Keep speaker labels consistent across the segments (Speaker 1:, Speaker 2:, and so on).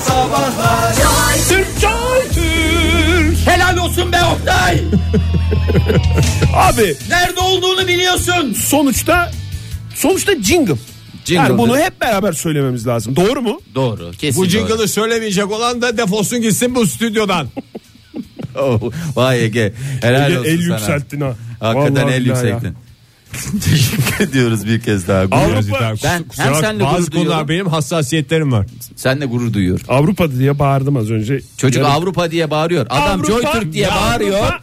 Speaker 1: sabahlar. Türk Joy Türk. Helal olsun be Oktay.
Speaker 2: Abi
Speaker 1: Nerede olduğunu biliyorsun.
Speaker 2: sonuçta sonuçta jingle.
Speaker 1: Jingle'dır.
Speaker 2: Yani bunu hep beraber söylememiz lazım. Doğru mu?
Speaker 1: Doğru kesin
Speaker 3: Bu
Speaker 1: doğru.
Speaker 3: jingle'ı söylemeyecek olan da defolsun gitsin bu stüdyodan.
Speaker 1: Oh, vay Ege helal
Speaker 2: Ege,
Speaker 1: olsun
Speaker 2: el
Speaker 1: sana.
Speaker 2: yükselttin ha.
Speaker 1: Hakikaten
Speaker 2: Vallahi
Speaker 1: el
Speaker 2: billahi ya.
Speaker 1: yükselttin. Teşekkür ediyoruz bir kez daha. Gurur-
Speaker 2: Avrupa-
Speaker 1: Ben
Speaker 3: Kusura
Speaker 1: hem
Speaker 3: bak,
Speaker 1: seninle
Speaker 3: bazı
Speaker 1: gurur duyuyorum.
Speaker 3: konular benim hassasiyetlerim var.
Speaker 1: Sen de gurur duyuyor.
Speaker 2: Avrupa diye bağırdım az önce.
Speaker 1: Çocuk
Speaker 2: Yani
Speaker 1: Avrupa diye bağırıyor. Adam
Speaker 2: Avrupa,
Speaker 1: Joy Türk diye
Speaker 2: ya
Speaker 1: bağırıyor.
Speaker 2: Avrupa,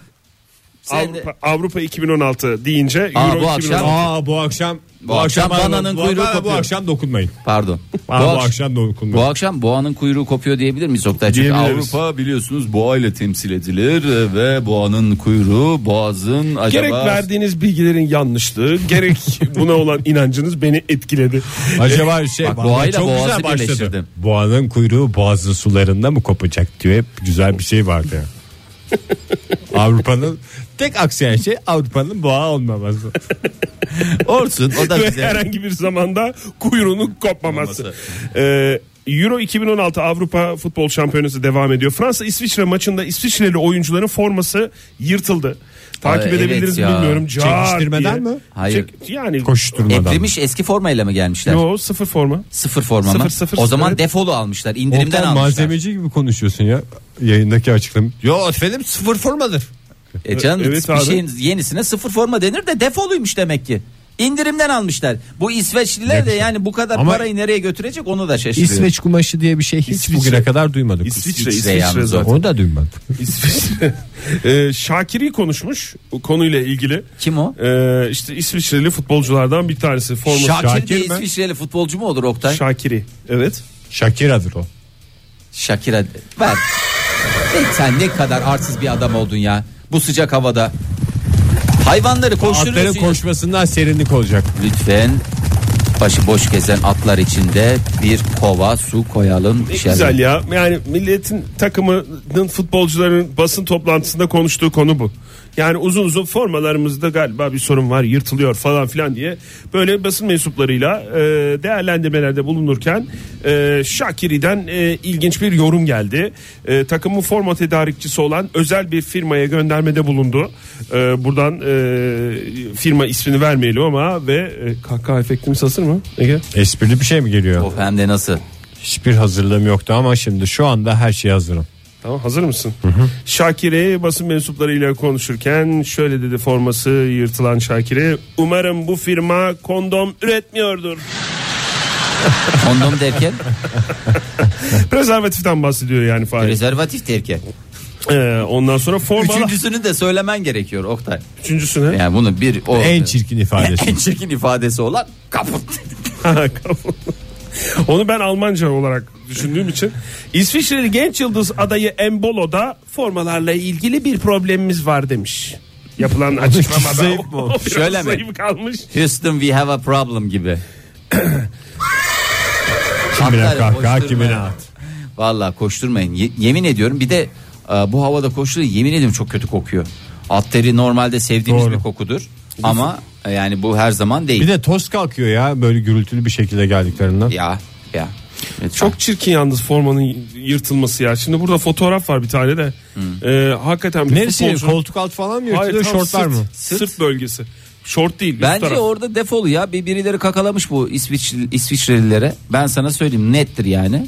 Speaker 1: Sen de-
Speaker 2: Avrupa, Avrupa 2016 deyince
Speaker 1: Aa,
Speaker 2: Euro
Speaker 1: bu akşam-
Speaker 2: 2016.
Speaker 3: Aa bu akşam bu,
Speaker 1: akşam
Speaker 3: arada-
Speaker 1: bananın
Speaker 3: bu,
Speaker 1: kuyruğu
Speaker 3: bu- bu
Speaker 1: kopuyor.
Speaker 3: akşam dokunmayın.
Speaker 1: Pardon.
Speaker 3: Aa, bu,
Speaker 1: ak-
Speaker 3: akşam
Speaker 1: bu
Speaker 3: dokunmayın.
Speaker 1: akşam boğanın kuyruğu kopuyor diyebilir miyiz Oktay? Çünkü
Speaker 2: Diyebiliriz.
Speaker 1: Avrupa biliyorsunuz boğa ile temsil edilir e, ve boğanın kuyruğu boğazın acaba...
Speaker 2: Gerek verdiğiniz bilgilerin yanlışlığı, gerek buna olan inancınız beni etkiledi.
Speaker 3: Acaba şey
Speaker 1: Bak,
Speaker 3: bak,
Speaker 1: boğayla
Speaker 3: çok
Speaker 1: boğazı
Speaker 3: güzel başladı.
Speaker 1: birleştirdim.
Speaker 3: Boğanın kuyruğu boğazın sularında mı kopacak diyor. Hep güzel bir şey vardı ya. Avrupa'nın tek aksayan şey Avrupa'nın boğa olmaması.
Speaker 1: Olsun o da
Speaker 2: ve
Speaker 1: bize.
Speaker 2: herhangi bir zamanda kuyruğunun kopmaması. Ee, Euro 2016 Avrupa Futbol Şampiyonası devam ediyor. Fransa İsviçre maçında İsviçreli oyuncuların forması yırtıldı. Takip
Speaker 1: Ay, evet
Speaker 2: edebildiniz mi
Speaker 1: ya.
Speaker 2: bilmiyorum. Car
Speaker 3: Çekiştirmeden
Speaker 2: diye.
Speaker 3: mi?
Speaker 1: Hayır.
Speaker 2: Çek- yani
Speaker 3: Koşturmadan.
Speaker 1: Eklemiş eski formayla mı gelmişler?
Speaker 2: Yo sıfır forma.
Speaker 1: Sıfır forma mı?
Speaker 2: Sıfır, sıfır,
Speaker 1: o zaman
Speaker 2: sıfır.
Speaker 1: defolu almışlar. indirimden
Speaker 3: Oktay
Speaker 1: almışlar.
Speaker 3: malzemeci gibi konuşuyorsun ya yayındaki açıklama. Yo efendim sıfır formadır.
Speaker 1: E canım
Speaker 2: Evet
Speaker 1: bir
Speaker 2: abi.
Speaker 1: şeyin yenisine sıfır forma denir de defoluymuş demek ki. İndirimden almışlar. Bu İsveçliler de yani bu kadar
Speaker 3: Ama-
Speaker 1: parayı nereye götürecek onu da şaşırıyor.
Speaker 3: İsveç kumaşı diye bir şey hiç
Speaker 2: İsviçre-
Speaker 3: bugüne kadar duymadık.
Speaker 2: İsviçre,
Speaker 1: İsviçre
Speaker 2: İsviçre
Speaker 1: yalnız o.
Speaker 2: zaten.
Speaker 3: Onu da duymadık.
Speaker 2: İsviçre. Ee, Şakiri konuşmuş bu konuyla ilgili.
Speaker 1: Kim o?
Speaker 2: Ee, işte İsviçreli futbolculardan bir tanesi. Forması
Speaker 1: Şakir, diye
Speaker 3: Şakir mi?
Speaker 1: İsviçreli futbolcu mu olur Oktay?
Speaker 2: Şakiri. Evet.
Speaker 3: Shakira'dır o.
Speaker 1: Şakir'e ver. E sen ne kadar arsız bir adam oldun ya. Bu sıcak havada. Hayvanları
Speaker 3: Atların
Speaker 1: koşturuyorsun. ya.
Speaker 3: koşmasından serinlik olacak.
Speaker 1: Lütfen başı boş gezen atlar içinde bir kova su koyalım.
Speaker 2: Ne
Speaker 1: içeri.
Speaker 2: güzel ya. Yani milletin takımının futbolcuların basın toplantısında konuştuğu konu bu. Yani uzun uzun formalarımızda galiba bir sorun var yırtılıyor falan filan diye böyle basın mensuplarıyla e, değerlendirmelerde bulunurken e, Şakiri'den e, ilginç bir yorum geldi. E, takımın forma tedarikçisi olan özel bir firmaya göndermede bulundu. E, buradan e, firma ismini vermeyelim ama ve e, kahkaha efektimiz hazır mı Ege?
Speaker 3: Esprili bir şey mi geliyor?
Speaker 1: Of hem de nasıl?
Speaker 3: Hiçbir hazırlığım yoktu ama şimdi şu anda her şey hazırım.
Speaker 2: Tamam hazır mısın? Şakir'e basın mensuplarıyla konuşurken şöyle dedi forması yırtılan Şakir'e. Umarım bu firma kondom üretmiyordur.
Speaker 1: Kondom derken
Speaker 2: Prezervatiften bahsediyor yani Fahir.
Speaker 1: rezervatif derken.
Speaker 2: Ee, ondan sonra formalı.
Speaker 1: Üçüncüsünü de söylemen gerekiyor Oktay.
Speaker 2: Üçüncüsüne.
Speaker 1: Yani bunu bir o
Speaker 3: En çirkin ifadesi.
Speaker 1: en çirkin ifadesi olan kaput.
Speaker 2: Onu ben Almanca olarak düşündüğüm için. İsviçreli genç yıldız adayı Embolo'da formalarla ilgili bir problemimiz var demiş. Yapılan açıklamada.
Speaker 3: Zayıf mı olmuş?
Speaker 2: O biraz
Speaker 1: Şöyle mi?
Speaker 2: zayıf kalmış.
Speaker 1: Houston we have a problem gibi.
Speaker 3: Kimine
Speaker 1: Atlar
Speaker 3: kahkaha
Speaker 1: koşturma
Speaker 3: kimine
Speaker 1: ya.
Speaker 3: at.
Speaker 1: Vallahi koşturmayın. Ye- yemin ediyorum bir de e, bu havada koştuğu yemin ediyorum çok kötü kokuyor. At teri normalde sevdiğimiz
Speaker 3: Doğru.
Speaker 1: bir kokudur. Ama e, yani bu her zaman değil.
Speaker 3: Bir de toz kalkıyor ya böyle gürültülü bir şekilde geldiklerinden.
Speaker 1: Ya ya. Lütfen.
Speaker 2: Çok çirkin yalnız formanın yırtılması ya. Şimdi burada fotoğraf var bir tane de.
Speaker 1: Hmm.
Speaker 2: Ee, hakikaten bir
Speaker 3: Neresi?
Speaker 2: futbolcu-
Speaker 3: Koltuk alt falan mı
Speaker 2: Hayır,
Speaker 3: yırtılıyor
Speaker 2: tam
Speaker 3: şortlar
Speaker 2: sırt-
Speaker 3: mı?
Speaker 2: Sırt, bölgesi. Şort değil. üst
Speaker 1: Bence
Speaker 2: taraf.
Speaker 1: orada defolu ya. Bir birileri kakalamış bu İsviç İsviçrelilere. Ben sana söyleyeyim nettir yani.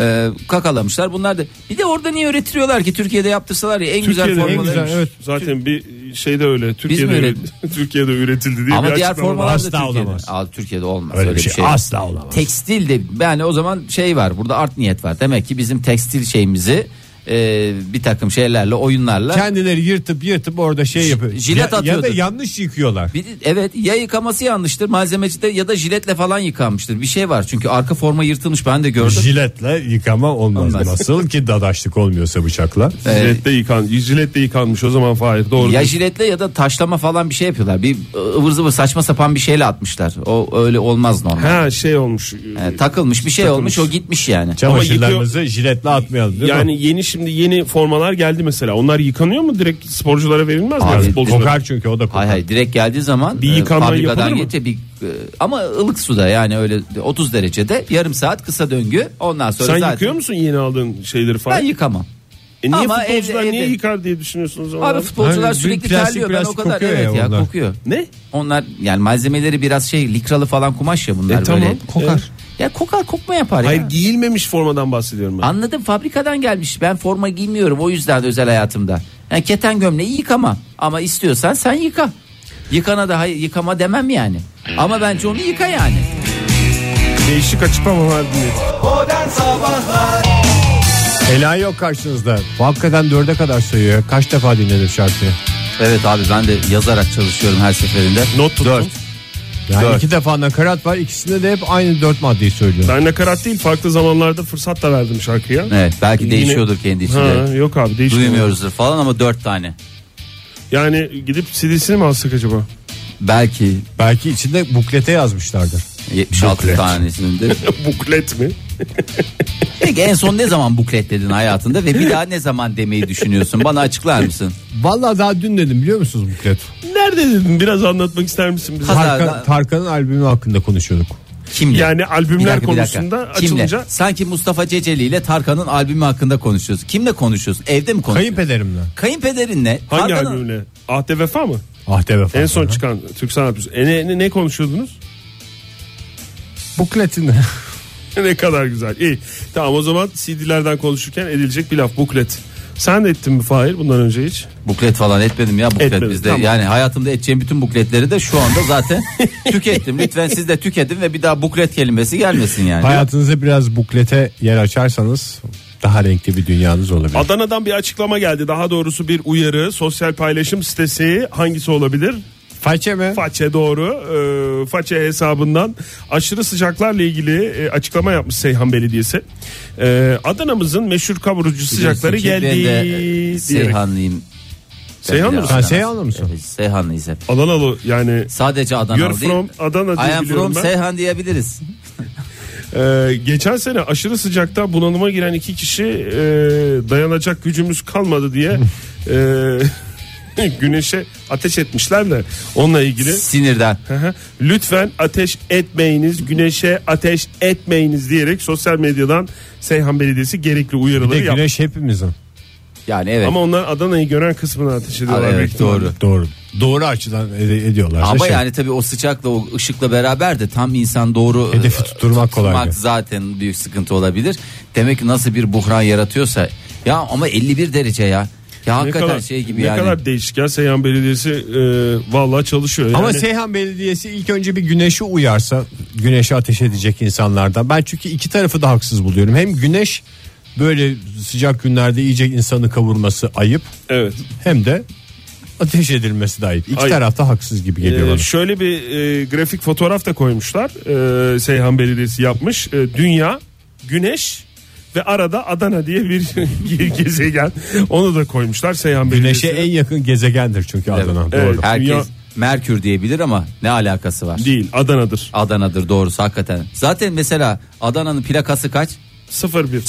Speaker 1: Ee, kakalamışlar. Bunlar da bir de orada niye öğretiliyorlar ki Türkiye'de yaptırsalar ya en güzel
Speaker 2: Türkiye'de en
Speaker 1: formaları.
Speaker 2: güzel,
Speaker 3: güzel,
Speaker 2: evet.
Speaker 3: evet.
Speaker 2: Zaten bir şey de öyle. Türkiye'de
Speaker 1: mi
Speaker 2: üretildi, Türkiye'de üretildi diye
Speaker 1: Ama
Speaker 2: bir
Speaker 1: diğer
Speaker 2: açıklama var.
Speaker 1: formalar da
Speaker 3: asla
Speaker 1: Türkiye'de.
Speaker 3: olamaz.
Speaker 1: Aa, Türkiye'de olmaz
Speaker 3: Öyle
Speaker 1: öyle
Speaker 3: bir şey
Speaker 1: yok.
Speaker 3: asla olamaz.
Speaker 1: Tekstil de yani o zaman şey var. Burada art niyet var. Demek ki bizim tekstil şeyimizi e, bir takım şeylerle oyunlarla
Speaker 3: Kendileri yırtıp yırtıp orada şey yapıyor.
Speaker 1: jilet
Speaker 3: ya, ya da
Speaker 1: atıyordur.
Speaker 3: yanlış yıkıyorlar.
Speaker 1: Bir de- evet ya yıkaması yanlıştır malzemeci de ya da jiletle falan yıkanmıştır bir şey var çünkü arka forma yırtılmış ben de gördüm
Speaker 3: Jiletle yıkama olmaz.
Speaker 1: Olmaz.
Speaker 3: Nasıl ki dadaşlık olmuyorsa bıçakla.
Speaker 1: Ee,
Speaker 2: Jiletle, yıkan, jiletle yıkanmış o zaman Fahir. Doğru.
Speaker 1: Ya jiletle ya da taşlama falan bir şey yapıyorlar. Bir ıvır zıvır saçma sapan bir şeyle atmışlar. O öyle olmaz normal.
Speaker 2: ha şey olmuş.
Speaker 1: Yani takılmış bir şey
Speaker 2: Takılmış.
Speaker 1: olmuş o gitmiş yani.
Speaker 3: Çamaşırlarımızı jiletle atmayalım değil mi?
Speaker 2: Yani yeni şimdi yeni formalar geldi mesela. Onlar yıkanıyor mu direkt sporculara verilmez mi?
Speaker 1: Abi,
Speaker 2: Yani futbolculara?
Speaker 3: Kokar çünkü o da kokar.
Speaker 1: Hay hay direkt geldiği zaman
Speaker 2: Bir
Speaker 1: e,
Speaker 2: yıkanma
Speaker 1: fabrikadan
Speaker 2: yapılır mı?
Speaker 1: getir bir e, ama ılık suda yani öyle 30 derecede yarım saat kısa döngü ondan sonra
Speaker 2: Sen
Speaker 1: zaten
Speaker 2: yıkıyor musun yeni aldığın şeyleri falan?
Speaker 1: ben yıkamam.
Speaker 2: E niye
Speaker 1: Ama
Speaker 2: futbolcular
Speaker 1: evde-
Speaker 2: niye
Speaker 1: evde.
Speaker 2: yıkar diye düşünüyorsunuz? o
Speaker 1: Abi
Speaker 2: zaman?
Speaker 1: futbolcular
Speaker 3: Hayır,
Speaker 1: sürekli
Speaker 3: plastik
Speaker 1: terliyor ben o
Speaker 3: plastik
Speaker 1: kadar
Speaker 3: kokuyor
Speaker 1: evet
Speaker 3: ya
Speaker 1: ya,
Speaker 3: onlar.
Speaker 1: kokuyor.
Speaker 2: ne?
Speaker 1: Onlar yani malzemeleri biraz şey likralı falan kumaş ya bunlar
Speaker 2: E, tamam.
Speaker 1: böyle. E,
Speaker 2: Kokar.
Speaker 1: Ya kokar kokma yapar
Speaker 2: Hayır
Speaker 1: ya.
Speaker 2: giyilmemiş formadan bahsediyorum ben.
Speaker 1: Anladım fabrikadan gelmiş. Ben forma giymiyorum o yüzden de özel hayatımda. Yani keten gömleği yıkama ama istiyorsan sen yıka. Yıkana da hayır, yıkama demem yani. Ama bence onu yıka yani.
Speaker 2: Değişik açıklamalar dinledim.
Speaker 3: Ela yok karşınızda. Hakikaten dörde kadar sayıyor. Kaç defa dinledim şarkıyı.
Speaker 1: Evet abi ben de yazarak çalışıyorum her seferinde.
Speaker 2: Not tuttum.
Speaker 1: Dört.
Speaker 3: Yani
Speaker 2: Dört.
Speaker 3: iki defa nakarat var. İkisinde de hep aynı dört maddeyi söylüyor.
Speaker 2: Ben nakarat değil farklı zamanlarda fırsat da verdim şarkıya.
Speaker 1: Evet belki
Speaker 2: Yine-
Speaker 1: değişiyordur kendi içinde.
Speaker 2: Ha, yok abi değişmiyor.
Speaker 1: Duymuyoruzdur falan ama dört tane.
Speaker 2: Yani gidip CD'sini mi alsak acaba?
Speaker 1: Belki
Speaker 3: Belki içinde buklete yazmışlardır.
Speaker 1: 76
Speaker 3: Buklet.
Speaker 1: tanesinin de.
Speaker 2: Buklet mi?
Speaker 1: Peki en son ne zaman bukletledin hayatında ve bir daha ne zaman demeyi düşünüyorsun? Bana açıklar mısın?
Speaker 3: Vallahi daha dün dedim biliyor musunuz buklet?
Speaker 2: Nerede dedim biraz anlatmak ister misin bize?
Speaker 1: Ha-
Speaker 3: Tarkan- Tarkan'ın albümü hakkında konuşuyorduk.
Speaker 1: Kimle?
Speaker 2: Yani albümler
Speaker 1: Bir dakika, bir dakika.
Speaker 2: konusunda
Speaker 1: Kimle?
Speaker 2: açılınca-
Speaker 1: Sanki Mustafa Ceceli ile Tarkan'ın albümü hakkında konuşuyoruz. Kimle konuşuyorsun? Evde mi konuşuyorsun?
Speaker 3: Kayınpederimle.
Speaker 1: Kayınpederinle.
Speaker 2: Hangi
Speaker 1: Tarkan'ın-
Speaker 2: albümle? Ahde Vefa mı?
Speaker 3: Ah de
Speaker 2: En son çıkan Türk Sanat Müziği. E ne, ne, ne konuşuyordunuz?
Speaker 3: Bukletini.
Speaker 2: ne kadar güzel. İyi. Tamam o zaman CD'lerden konuşurken edilecek bir laf buklet. Sen de ettin mi Fahir bundan önce hiç?
Speaker 1: Buklet falan etmedim ya buklet
Speaker 2: Etmedim,
Speaker 1: bizde.
Speaker 2: tamam.
Speaker 1: Yani hayatımda edeceğim bütün bukletleri de şu anda zaten tükettim. Lütfen siz de tüketin ve bir daha buklet kelimesi gelmesin yani.
Speaker 3: Hayatınıza biraz buklete yer açarsanız daha renkli bir dünyanız olabilir.
Speaker 2: Adana'dan bir açıklama geldi. Daha doğrusu bir uyarı. Sosyal paylaşım sitesi hangisi olabilir?
Speaker 3: Façe mi?
Speaker 2: Façe doğru. Ee, Façe hesabından aşırı sıcaklarla ilgili e, açıklama yapmış Seyhan Belediyesi. Ee, Adana'mızın meşhur kavurucu sıcakları
Speaker 1: Biliyorsun ki
Speaker 2: geldi.
Speaker 1: Ben de e,
Speaker 2: diyerek.
Speaker 1: Seyhanlıyım.
Speaker 2: Seyhanlı mısın?
Speaker 3: Ha, Seyhanlı mısın?
Speaker 1: Evet, Seyhanlıyız hep.
Speaker 2: Adanalı yani
Speaker 1: Sadece Adana
Speaker 2: You're
Speaker 1: değil.
Speaker 2: from Adana
Speaker 1: I
Speaker 2: diye
Speaker 1: am
Speaker 2: biliyorum
Speaker 1: from
Speaker 2: ben.
Speaker 1: Seyhan diyebiliriz.
Speaker 2: Ee, geçen sene aşırı sıcakta bunalıma giren iki kişi e, dayanacak gücümüz kalmadı diye e, güneşe ateş etmişler de onunla ilgili.
Speaker 1: Sinirden.
Speaker 2: Hı hı. Lütfen ateş etmeyiniz, güneşe ateş etmeyiniz diyerek sosyal medyadan Seyhan Belediyesi gerekli
Speaker 3: Bir
Speaker 2: uyarıları
Speaker 3: de
Speaker 2: yaptı.
Speaker 3: güneş hepimizin.
Speaker 1: Yani evet.
Speaker 2: Ama onlar Adana'yı gören kısmına ateş
Speaker 1: Aa,
Speaker 2: ediyorlar. büyük
Speaker 1: evet
Speaker 2: ihtimalle.
Speaker 1: doğru.
Speaker 3: Doğru. Doğru açıdan ed- ediyorlar.
Speaker 1: Ama
Speaker 3: Şey,
Speaker 1: yani tabii o sıcakla o ışıkla beraber de tam insan doğru
Speaker 3: Hedefi
Speaker 1: e,
Speaker 3: tutturmak kolay
Speaker 1: tutturmak
Speaker 3: değil.
Speaker 1: zaten büyük sıkıntı olabilir. Demek ki nasıl bir buhran yaratıyorsa ya ama 51 derece ya. Ya
Speaker 2: Ne
Speaker 1: hakikaten
Speaker 2: kadar,
Speaker 1: şey gibi
Speaker 2: ne
Speaker 1: yani.
Speaker 2: kadar değişik ya Seyhan Belediyesi e, vallahi çalışıyor.
Speaker 3: Ama
Speaker 2: yani.
Speaker 3: Seyhan Belediyesi ilk önce bir güneşi uyarsa güneşe ateş edecek insanlardan. Ben çünkü iki tarafı da haksız buluyorum. Hem güneş böyle sıcak günlerde iyice insanı kavurması ayıp.
Speaker 2: evet.
Speaker 3: Hem de ateş edilmesi de ayıp. İki
Speaker 2: Ayıp.
Speaker 3: tarafta haksız gibi geliyor
Speaker 2: Ee,
Speaker 3: bana.
Speaker 2: şöyle bir e, grafik fotoğraf da koymuşlar. Ee, Seyhan Belediyesi yapmış. Ee, dünya, güneş ve arada Adana diye bir ge- gezegen. Onu da koymuşlar Seyhan Belediyesi.
Speaker 3: Güneşe en yakın gezegendir çünkü Adana. Doğru.
Speaker 2: Evet.
Speaker 1: Herkes
Speaker 2: Dünya-
Speaker 1: Merkür diyebilir ama ne alakası var?
Speaker 2: değil Adana'dır.
Speaker 1: Adana'dır doğrusu hakikaten. Zaten mesela Adana'nın plakası kaç?
Speaker 2: 01.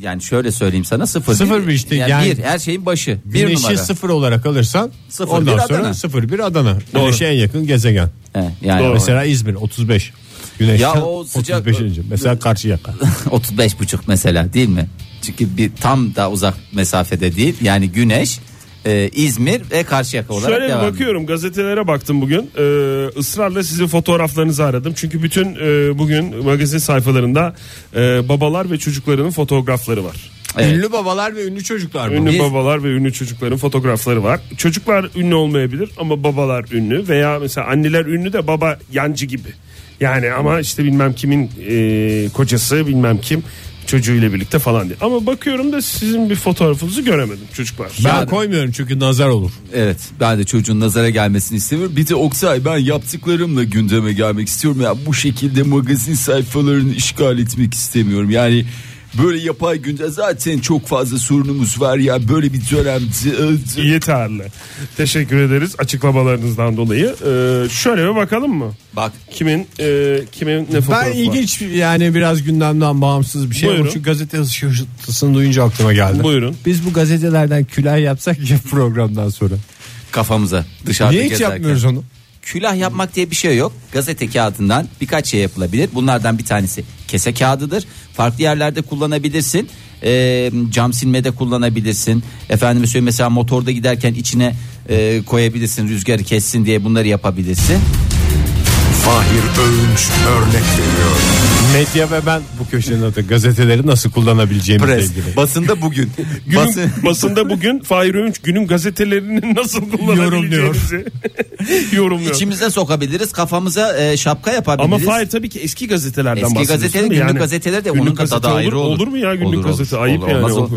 Speaker 1: Yani şöyle söyleyeyim sana sıfır.
Speaker 3: Sıfır bir işte, yani-
Speaker 1: bir, her şeyin başı. Bir
Speaker 3: Güneşi
Speaker 1: numara.
Speaker 3: sıfır olarak alırsan
Speaker 1: Sıfır
Speaker 3: ondan
Speaker 1: bir
Speaker 3: sonra
Speaker 1: Adana.
Speaker 3: sıfır bir Adana.
Speaker 2: Doğru.
Speaker 3: Güneşe en yakın gezegen.
Speaker 1: He, yani
Speaker 2: Doğru.
Speaker 1: o-
Speaker 3: Mesela İzmir 35. Güneşten
Speaker 1: Ya o sıcak-
Speaker 3: 35. Mesela Karşıyaka.
Speaker 1: 35 buçuk mesela değil mi? Çünkü bir tam da uzak mesafede değil. Yani güneş, e, İzmir ve Karşıyaka olarak
Speaker 2: Şöyle bir
Speaker 1: devam.
Speaker 2: bakıyorum gazetelere baktım bugün Ee, ısrarla sizin fotoğraflarınızı aradım çünkü bütün e, bugün magazin sayfalarında e, babalar ve çocuklarının fotoğrafları var.
Speaker 1: Evet.
Speaker 3: Ünlü babalar ve ünlü çocuklar mı?
Speaker 2: Ünlü
Speaker 1: Biz-
Speaker 2: babalar ve ünlü çocukların fotoğrafları var. Çocuklar ünlü olmayabilir ama babalar ünlü veya mesela anneler ünlü de baba yancı gibi. Yani ama işte bilmem kimin e, kocası bilmem kim çocuğuyla birlikte falan diye. Ama bakıyorum da sizin bir fotoğrafınızı göremedim çocuklar.
Speaker 3: Ben
Speaker 1: Yani-
Speaker 3: koymuyorum çünkü nazar olur.
Speaker 1: Evet ben de çocuğun nazara gelmesini istemiyorum. Bir de Oksay ben yaptıklarımla gündeme gelmek istiyorum. Ya bu şekilde magazin sayfalarını işgal etmek istemiyorum. Yani
Speaker 4: Böyle yapay günde zaten çok fazla sorunumuz var ya böyle bir dönem.
Speaker 2: Yeterli. Teşekkür ederiz açıklamalarınızdan dolayı. Ee, şöyle bir bakalım mı?
Speaker 4: Bak
Speaker 2: Kimin e, kimin ne fotoğrafı
Speaker 3: Ben
Speaker 2: var?
Speaker 3: ilginç bir- yani biraz gündemden bağımsız bir şey
Speaker 2: Buyurun.
Speaker 3: ama şu gazete hışırtısını duyunca aklıma geldi.
Speaker 2: Buyurun.
Speaker 3: Biz bu gazetelerden külah yapsak ya programdan sonra.
Speaker 1: Kafamıza dışarıda
Speaker 3: Niye hiç
Speaker 1: gezerken.
Speaker 3: yapmıyoruz onu?
Speaker 1: Külah yapmak diye bir şey yok. Gazete kağıdından birkaç şey yapılabilir. Bunlardan bir tanesi kese kağıdıdır. Farklı yerlerde kullanabilirsin. Ee, cam silmede kullanabilirsin. Efendime söyleyeyim mesela motorda giderken içine e, koyabilirsin rüzgarı kessin diye bunları yapabilirsin.
Speaker 5: Fahir Öğünç örnek veriyor.
Speaker 3: Medya ve ben bu köşenin adı gazeteleri nasıl kullanabileceğimizle
Speaker 4: pres
Speaker 3: ilgili.
Speaker 4: basında bugün.
Speaker 2: Günün,
Speaker 4: Basın,
Speaker 2: basında bugün Fahir Öğünç günün gazetelerini nasıl kullanabileceğinizi yorumluyor.
Speaker 1: İçimize sokabiliriz. Kafamıza e, şapka yapabiliriz.
Speaker 2: Ama Fahir tabii ki eski gazetelerden
Speaker 1: Eski
Speaker 2: bahsediyorsun
Speaker 1: gazeteler,
Speaker 2: değil mi?
Speaker 1: günlük gazeteler de
Speaker 2: günlük
Speaker 1: onun da
Speaker 2: gazete
Speaker 1: tadı
Speaker 2: olur,
Speaker 1: ayrı olur.
Speaker 2: Olur mu ya günlük
Speaker 1: Olur, olur.
Speaker 2: gazete? Ayıp
Speaker 1: Olur,
Speaker 2: yani.
Speaker 1: olmaz o.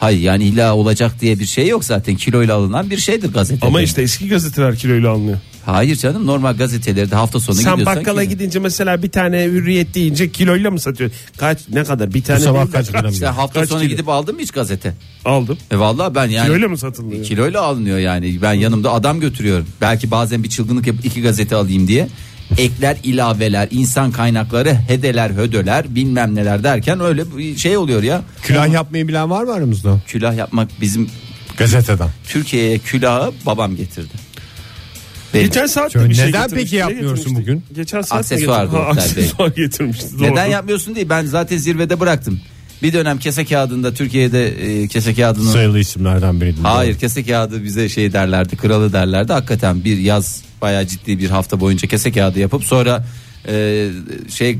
Speaker 1: Hayır yani illa olacak diye bir şey yok zaten. Kiloyla alınan bir şeydir gazete.
Speaker 2: Ama işte eski gazeteler kiloyla alınıyor.
Speaker 1: Hayır canım normal gazetelerde hafta sonu
Speaker 2: Sen
Speaker 1: gidiyorsan
Speaker 2: bakkala
Speaker 1: kilo.
Speaker 2: gidince mesela bir tane hürriyet deyince kiloyla mı satıyorsun? Kaç ne kadar? Bir tane
Speaker 3: Bu sabah
Speaker 2: değil de
Speaker 3: kaç gram
Speaker 1: İşte hafta
Speaker 2: Kaç
Speaker 1: sonu
Speaker 2: kilo?
Speaker 1: gidip aldın mı hiç gazete?
Speaker 2: aldım.
Speaker 1: E vallahi ben yani
Speaker 2: Kiloyla mı satılıyor?
Speaker 1: kiloyla alınıyor yani. Ben yanımda adam götürüyorum. Belki bazen bir çılgınlık yapıp iki gazete alayım diye. Ekler, ilaveler, insan kaynakları, hedeler, hödöler, bilmem neler derken öyle bir şey oluyor ya.
Speaker 3: Külah yapmayı bilen var mı aramızda?
Speaker 1: Külah yapmak bizim
Speaker 3: Gazeteden.
Speaker 1: Türkiye'ye külahı babam getirdi. Benim.
Speaker 2: Geçen saat
Speaker 3: Şöyle
Speaker 2: bir şey
Speaker 3: neden
Speaker 2: getirmişti.
Speaker 3: peki
Speaker 2: Ne
Speaker 3: yapmıyorsun
Speaker 2: getirmişti?
Speaker 3: bugün?
Speaker 2: Geçen saat mi
Speaker 1: Aksesuar
Speaker 2: getirdi? Ha,
Speaker 1: da Oktay Bey.
Speaker 2: aksesuar getirmişti. doğru.
Speaker 1: Neden yapmıyorsun diye ben zaten zirvede bıraktım. Bir dönem kese kağıdında Türkiye'de e, kese kağıdının
Speaker 3: Sayılı isimlerden biriydi.
Speaker 1: Hayır kese kağıdı bize şey derlerdi kralı derlerdi hakikaten bir yaz bayağı ciddi bir hafta boyunca kese kağıdı yapıp sonra e, şey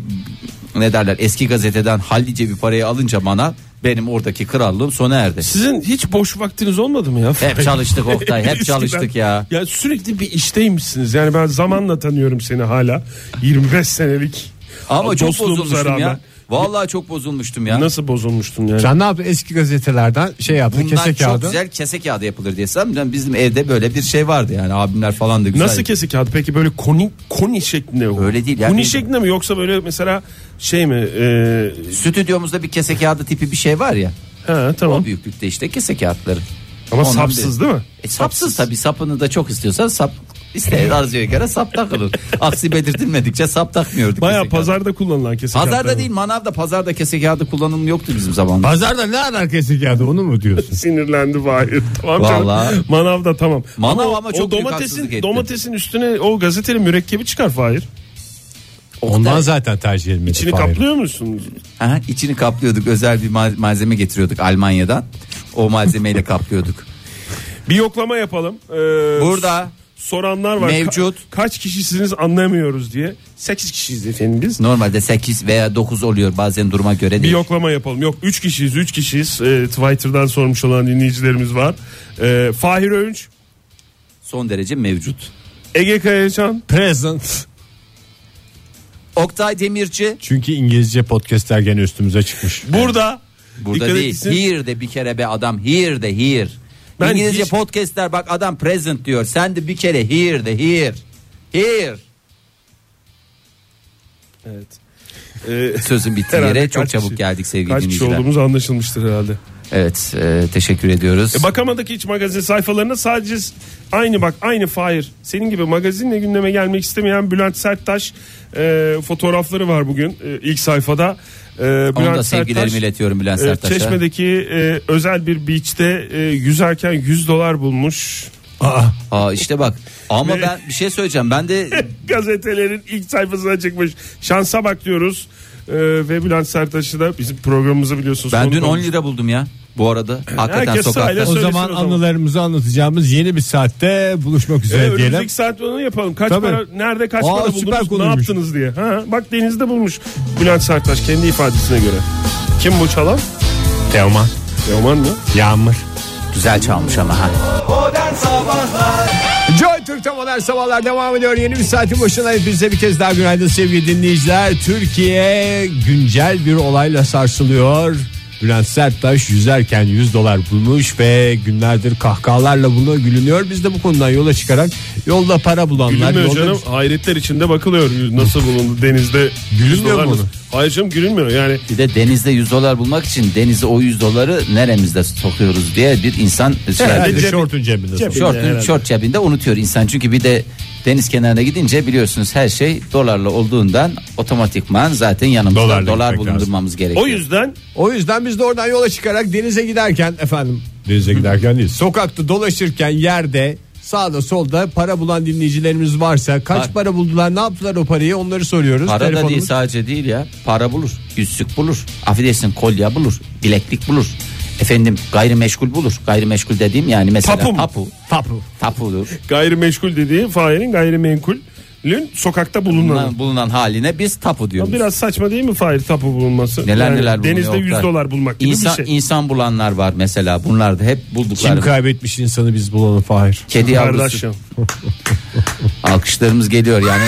Speaker 1: ne derler eski gazeteden hallice bir parayı alınca bana benim oradaki krallığım sona erdi.
Speaker 2: Sizin hiç boş vaktiniz olmadı mı ya?
Speaker 1: Hep çalıştık Oktay hep
Speaker 2: Eskiden-
Speaker 1: çalıştık ya.
Speaker 2: Ya sürekli bir işteymişsiniz. Yani ben zamanla tanıyorum seni hala. 25 senelik.
Speaker 1: Ama çok
Speaker 2: dostluğumuza
Speaker 1: bozulmuştum ya.
Speaker 2: rağmen.
Speaker 1: Vallahi çok bozulmuştum ya.
Speaker 2: Nasıl bozulmuştun yani?
Speaker 3: Sen ne yaptın? Eski gazetelerden şey yaptın
Speaker 1: Bundan
Speaker 3: kese
Speaker 1: çok
Speaker 3: kağıdı.
Speaker 1: güzel kese kağıdı yapılır diye sanırım bizim evde böyle bir şey vardı yani abimler falan da güzel.
Speaker 2: Nasıl kesik kağıdı? Peki böyle koni koni şeklinde mi?
Speaker 1: Öyle değil yani.
Speaker 2: Koni şeklinde mi yoksa böyle mesela şey mi? E,
Speaker 1: Stüdyomuzda bir kese kağıdı tipi bir şey var ya.
Speaker 2: he
Speaker 1: O
Speaker 2: tamam.
Speaker 1: büyüklükte işte kese kağıtları.
Speaker 2: Ama
Speaker 1: Ondan
Speaker 2: sapsız
Speaker 1: bir-
Speaker 2: değil mi?
Speaker 1: E, sapsız tabii sapını da çok istiyorsan sap isteyen arzuya göre sap takılır. Aksi belirtilmedikçe sap takmıyorduk.
Speaker 2: Baya
Speaker 1: kese kağıdı.
Speaker 2: pazarda kullanılan kesik
Speaker 1: Pazarda
Speaker 2: kağıtlar
Speaker 1: değil
Speaker 2: mı?
Speaker 1: manavda pazarda kese kağıdı kullanımı yoktu bizim zamanımızda.
Speaker 3: Pazarda ne arar kese kağıdı onu mu diyorsun?
Speaker 2: Sinirlendi Fahir. Tamam canım.
Speaker 1: Vallahi.
Speaker 2: Manavda tamam.
Speaker 1: Manav
Speaker 2: o-
Speaker 1: ama
Speaker 2: o
Speaker 1: çok büyük haksızlık
Speaker 2: domatesin,
Speaker 1: etti.
Speaker 2: domatesin üstüne o gazetenin mürekkebi çıkar Fahir.
Speaker 3: Ondan zaten tercih edilmedi.
Speaker 2: İçini
Speaker 3: Fahir.
Speaker 2: kaplıyor musunuz?
Speaker 1: Aha, içini kaplıyorduk özel bir ma- malzeme getiriyorduk Almanya'dan. O malzemeyle kaplıyorduk.
Speaker 2: Bir yoklama yapalım. Ee,
Speaker 1: Burada
Speaker 2: soranlar var.
Speaker 1: Mevcut.
Speaker 2: Ka- kaç kişisiniz anlayamıyoruz diye. 8 kişiyiz efendim biz.
Speaker 1: normalde 8 veya 9 oluyor bazen duruma göre
Speaker 2: Bir
Speaker 1: değil.
Speaker 2: yoklama yapalım. Yok 3 kişiyiz 3 kişiyiz. Ee, Twitter'dan sormuş olan dinleyicilerimiz var. Ee, Fahir Öğünç,
Speaker 1: Son derece mevcut.
Speaker 2: Ege Kayacan,
Speaker 3: Present.
Speaker 1: Oktay Demirci
Speaker 3: Çünkü İngilizce podcastler gene üstümüze çıkmış.
Speaker 2: burada.
Speaker 1: Burada
Speaker 2: Dikkat
Speaker 1: değil.
Speaker 2: etsin.
Speaker 1: Here de bir kere be adam. Here de here.
Speaker 2: Ben
Speaker 1: İngilizce
Speaker 2: hiç-
Speaker 1: podcastler bak adam present diyor. Sen de bir kere here de here. Here.
Speaker 2: Evet. Ee,
Speaker 1: Sözün bittiği
Speaker 2: herhalde
Speaker 1: yere çok
Speaker 2: kaç
Speaker 1: çabuk
Speaker 2: kişi-
Speaker 1: geldik sevgili
Speaker 2: Kaç kişi
Speaker 1: dinleyiciler.
Speaker 2: olduğumuz anlaşılmıştır herhalde.
Speaker 1: Evet e, teşekkür ediyoruz.
Speaker 2: E, Bakamadaki iç magazin sayfalarına sadece s- aynı bak aynı Fahir. Senin gibi magazinle gündeme gelmek istemeyen Bülent Serttaş e, fotoğrafları var bugün e, ilk sayfada. E, Bülent
Speaker 1: Onu da sevgilerimi
Speaker 2: Serttaş,
Speaker 1: iletiyorum Bülent
Speaker 2: e,
Speaker 1: Serttaş'a.
Speaker 2: Çeşme'deki e, özel bir beach'te e, yüzerken 100 dolar bulmuş.
Speaker 1: Aa işte bak ama ben bir şey söyleyeceğim. Ben de
Speaker 2: Gazetelerin ilk sayfasına çıkmış. Şansa bak diyoruz. E, ve Bülent Serttaş'ı da bizim programımızı biliyorsunuz.
Speaker 1: ben
Speaker 2: konu
Speaker 1: dün 10
Speaker 2: konuş-
Speaker 1: lira buldum ya. Bu arada hakikaten
Speaker 2: Herkes
Speaker 1: sokakta.
Speaker 2: sahile-
Speaker 3: O
Speaker 2: Söylesin
Speaker 3: zaman
Speaker 2: o zaman.
Speaker 3: anılarımızı anlatacağımız yeni bir saatte buluşmak
Speaker 2: E,
Speaker 3: üzere diyelim.
Speaker 2: önümüzdeki saat onu yapalım. Kaç
Speaker 3: Tabii.
Speaker 2: para, nerede kaç
Speaker 3: Aa,
Speaker 2: para
Speaker 3: süper
Speaker 2: buldunuz, ne
Speaker 3: konuymuş.
Speaker 2: yaptınız diye. Ha, bak denizde bulmuş Bülent Serttaş kendi ifadesine göre. Kim bu çalan?
Speaker 3: Teoman.
Speaker 2: Yaman mı?
Speaker 3: Yağmur.
Speaker 1: Güzel çalmış ama ha.
Speaker 4: Modern Sabahlar
Speaker 3: Joy Türk'te modern sabahlar devam ediyor. Yeni bir saatin başına hepinize bir kez daha günaydın sevgili dinleyiciler. Türkiye güncel bir olayla sarsılıyor. Bülent Serttaş yüzerken 100 dolar bulmuş ve günlerdir kahkahalarla buna gülünüyor. Biz de bu konudan yola çıkarak yolda para bulanlar
Speaker 2: Gülünmüyor
Speaker 3: yolda
Speaker 2: canım. Hayretler içinde bakılıyor nasıl bulundu denizde.
Speaker 3: Gülünmüyor
Speaker 2: dolar
Speaker 3: mu
Speaker 2: nasıl-
Speaker 3: onu?
Speaker 2: Hayır canım gülünmüyor yani.
Speaker 1: Bir de denizde 100 dolar bulmak için denize o 100 doları neremizde sokuyoruz diye bir insan ısrar
Speaker 3: Herhalde
Speaker 1: ediyor.
Speaker 3: şortun cebinde.
Speaker 2: Cep-
Speaker 3: sokuyor.
Speaker 1: Şortun,
Speaker 2: herhalde.
Speaker 1: şort cebinde unutuyor insan çünkü bir de deniz kenarına gidince biliyorsunuz her şey dolarla olduğundan otomatikman zaten yanımızda
Speaker 3: Dolarla
Speaker 1: dolar
Speaker 3: gitmek
Speaker 1: bulundurmamız gerekiyor.
Speaker 2: O yüzden
Speaker 3: O yüzden biz de oradan yola çıkarak denize giderken efendim denize giderken değil sokakta dolaşırken yerde sağda solda para bulan dinleyicilerimiz varsa kaç
Speaker 1: Var.
Speaker 3: para buldular ne yaptılar o parayı onları soruyoruz.
Speaker 1: Para da değil
Speaker 3: Telefonumuz-
Speaker 1: sadece değil ya. Para bulur, yüzsük bulur, affedersin kolye bulur, bileklik bulur. Efendim gayrimeşgul bulur. Gayrimeşgul dediğim yani mesela
Speaker 2: Tapu mu?
Speaker 1: tapu.
Speaker 3: Tapu.
Speaker 1: Tapudur.
Speaker 2: gayrimeşgul dediği failin gayrimenkulün sokakta bulunanı.
Speaker 1: Bulunan, bulunan haline biz tapu
Speaker 2: Ya
Speaker 1: diyoruz.
Speaker 2: Biraz saçma değil mi fail tapu bulunması?
Speaker 1: neler
Speaker 2: Yani
Speaker 1: neler bulunuyor
Speaker 2: Denizde 100
Speaker 1: Oktay.
Speaker 2: dolar bulmak gibi
Speaker 1: insan,
Speaker 2: bir şey.
Speaker 1: İnsan bulanlar var mesela. Bunlar da hep
Speaker 3: Kim
Speaker 1: buldukları.
Speaker 3: kaybetmiş insanı biz bulalım Fahir.
Speaker 1: Kedi yavrusu.
Speaker 2: Kardeşim.
Speaker 1: Alkışlarımız geliyor yani.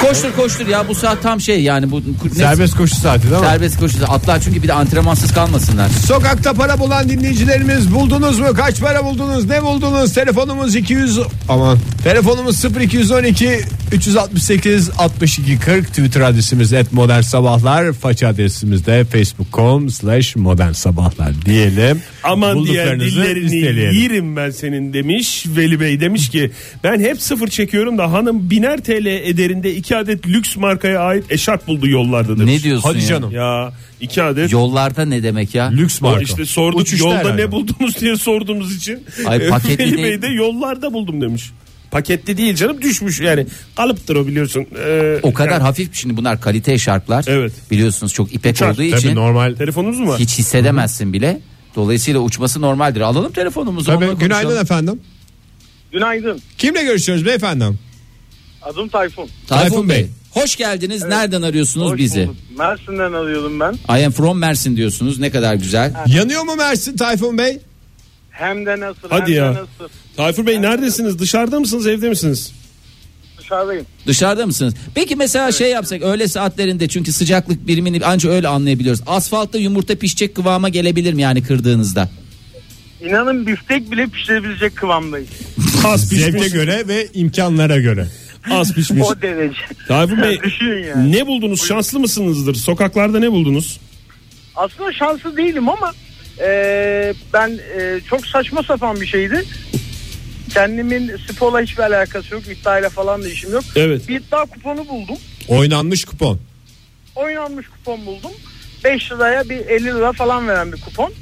Speaker 1: koştur koştur ya bu saat tam şey yani bu ne-
Speaker 3: Serbest koşu saati değil mi?
Speaker 1: serbest koşu. Atlar çünkü bir de antrenmansız kalmasınlar.
Speaker 3: Sokakta para bulan dinleyicilerimiz buldunuz mu? Kaç para buldunuz? Ne buldunuz? Telefonumuz 200 aman. Telefonumuz 0212 368 62 40 Twitter adresimiz et modern sabahlar. Faça adresimiz de facebook.com slash modern sabahlar diyelim.
Speaker 2: Aman diğer
Speaker 3: Bulduklarınızı
Speaker 2: dillerini
Speaker 3: listeleyelim.
Speaker 2: yerim ben senin demiş. Veli Bey demiş ki ben hep sıfır çekiyorum da hanım biner TL ederinde iki adet lüks markaya ait eşarp buldu yollarda demiş.
Speaker 1: Ne diyorsun
Speaker 3: Hadi
Speaker 1: ya?
Speaker 3: canım.
Speaker 2: Ya iki adet.
Speaker 1: Yollarda ne demek ya?
Speaker 3: Lüks
Speaker 2: O
Speaker 3: marka.
Speaker 2: işte sorduk
Speaker 3: Uçuşta
Speaker 2: yolda
Speaker 3: herhalde.
Speaker 2: ne buldunuz diye sorduğumuz için.
Speaker 1: Ay, paketli
Speaker 2: Veli Bey
Speaker 1: değil.
Speaker 2: de yollarda buldum demiş. Paketli değil canım düşmüş yani. Kalıptır o biliyorsun. Ee,
Speaker 1: O kadar
Speaker 2: yani
Speaker 1: hafif şimdi bunlar kalite şarkılar.
Speaker 2: Evet.
Speaker 1: Biliyorsunuz çok ipek
Speaker 2: Uçar,
Speaker 1: olduğu
Speaker 3: Tabii
Speaker 1: için
Speaker 3: normal.
Speaker 2: Telefonunuz mu var?
Speaker 1: hiç hissedemezsin bile. Dolayısıyla uçması normaldir. Alalım telefonumuzu.
Speaker 3: Tabii
Speaker 1: onunla
Speaker 3: günaydın
Speaker 1: konuşalım.
Speaker 3: efendim.
Speaker 6: Günaydın.
Speaker 3: Kimle görüşüyoruz beyefendi?
Speaker 6: Adım Tayfun.
Speaker 1: Tayfun
Speaker 3: Tayfun
Speaker 1: Bey.
Speaker 3: Bey.
Speaker 1: Hoş geldiniz. Nereden arıyorsunuz
Speaker 6: Hoş
Speaker 1: bizi?
Speaker 6: bulduk. Mersin'den arıyordum ben.
Speaker 1: I am from Mersin diyorsunuz. Ne kadar güzel.
Speaker 3: Yanıyor mu Mersin Tayfun Bey?
Speaker 6: Hem de nasıl
Speaker 2: Hadi
Speaker 6: hem
Speaker 2: ya.
Speaker 6: de nasıl.
Speaker 2: Tayfur Bey neredesiniz? Dışarıda mısınız evde misiniz?
Speaker 6: Dışarıdayım.
Speaker 1: Dışarıda mısınız? Peki mesela şey yapsak öğle saatlerinde çünkü sıcaklık birimini anca öyle anlayabiliyoruz. Asfaltta yumurta pişecek kıvama gelebilir mi yani kırdığınızda?
Speaker 6: İnanın biftek bile pişirebilecek kıvamdayız.
Speaker 2: Az
Speaker 3: Zevke
Speaker 2: pişmiş.
Speaker 3: göre ve imkanlara göre.
Speaker 2: Az pişmiş.
Speaker 6: O derece.
Speaker 2: Tayfun Bey
Speaker 6: Düşünün yani.
Speaker 2: ne buldunuz? Şanslı mısınızdır? Sokaklarda ne buldunuz?
Speaker 6: Aslında şanslı değilim ama eee, ben eee, çok saçma sapan bir şeydi. Kendimin sporla hiçbir alakası yok. iddiayla falan da işim yok.
Speaker 2: Evet.
Speaker 6: Bir iddia kuponu buldum.
Speaker 3: Oynanmış kupon.
Speaker 6: Oynanmış kupon buldum. 5 liraya bir 50 lira falan veren bir kupon.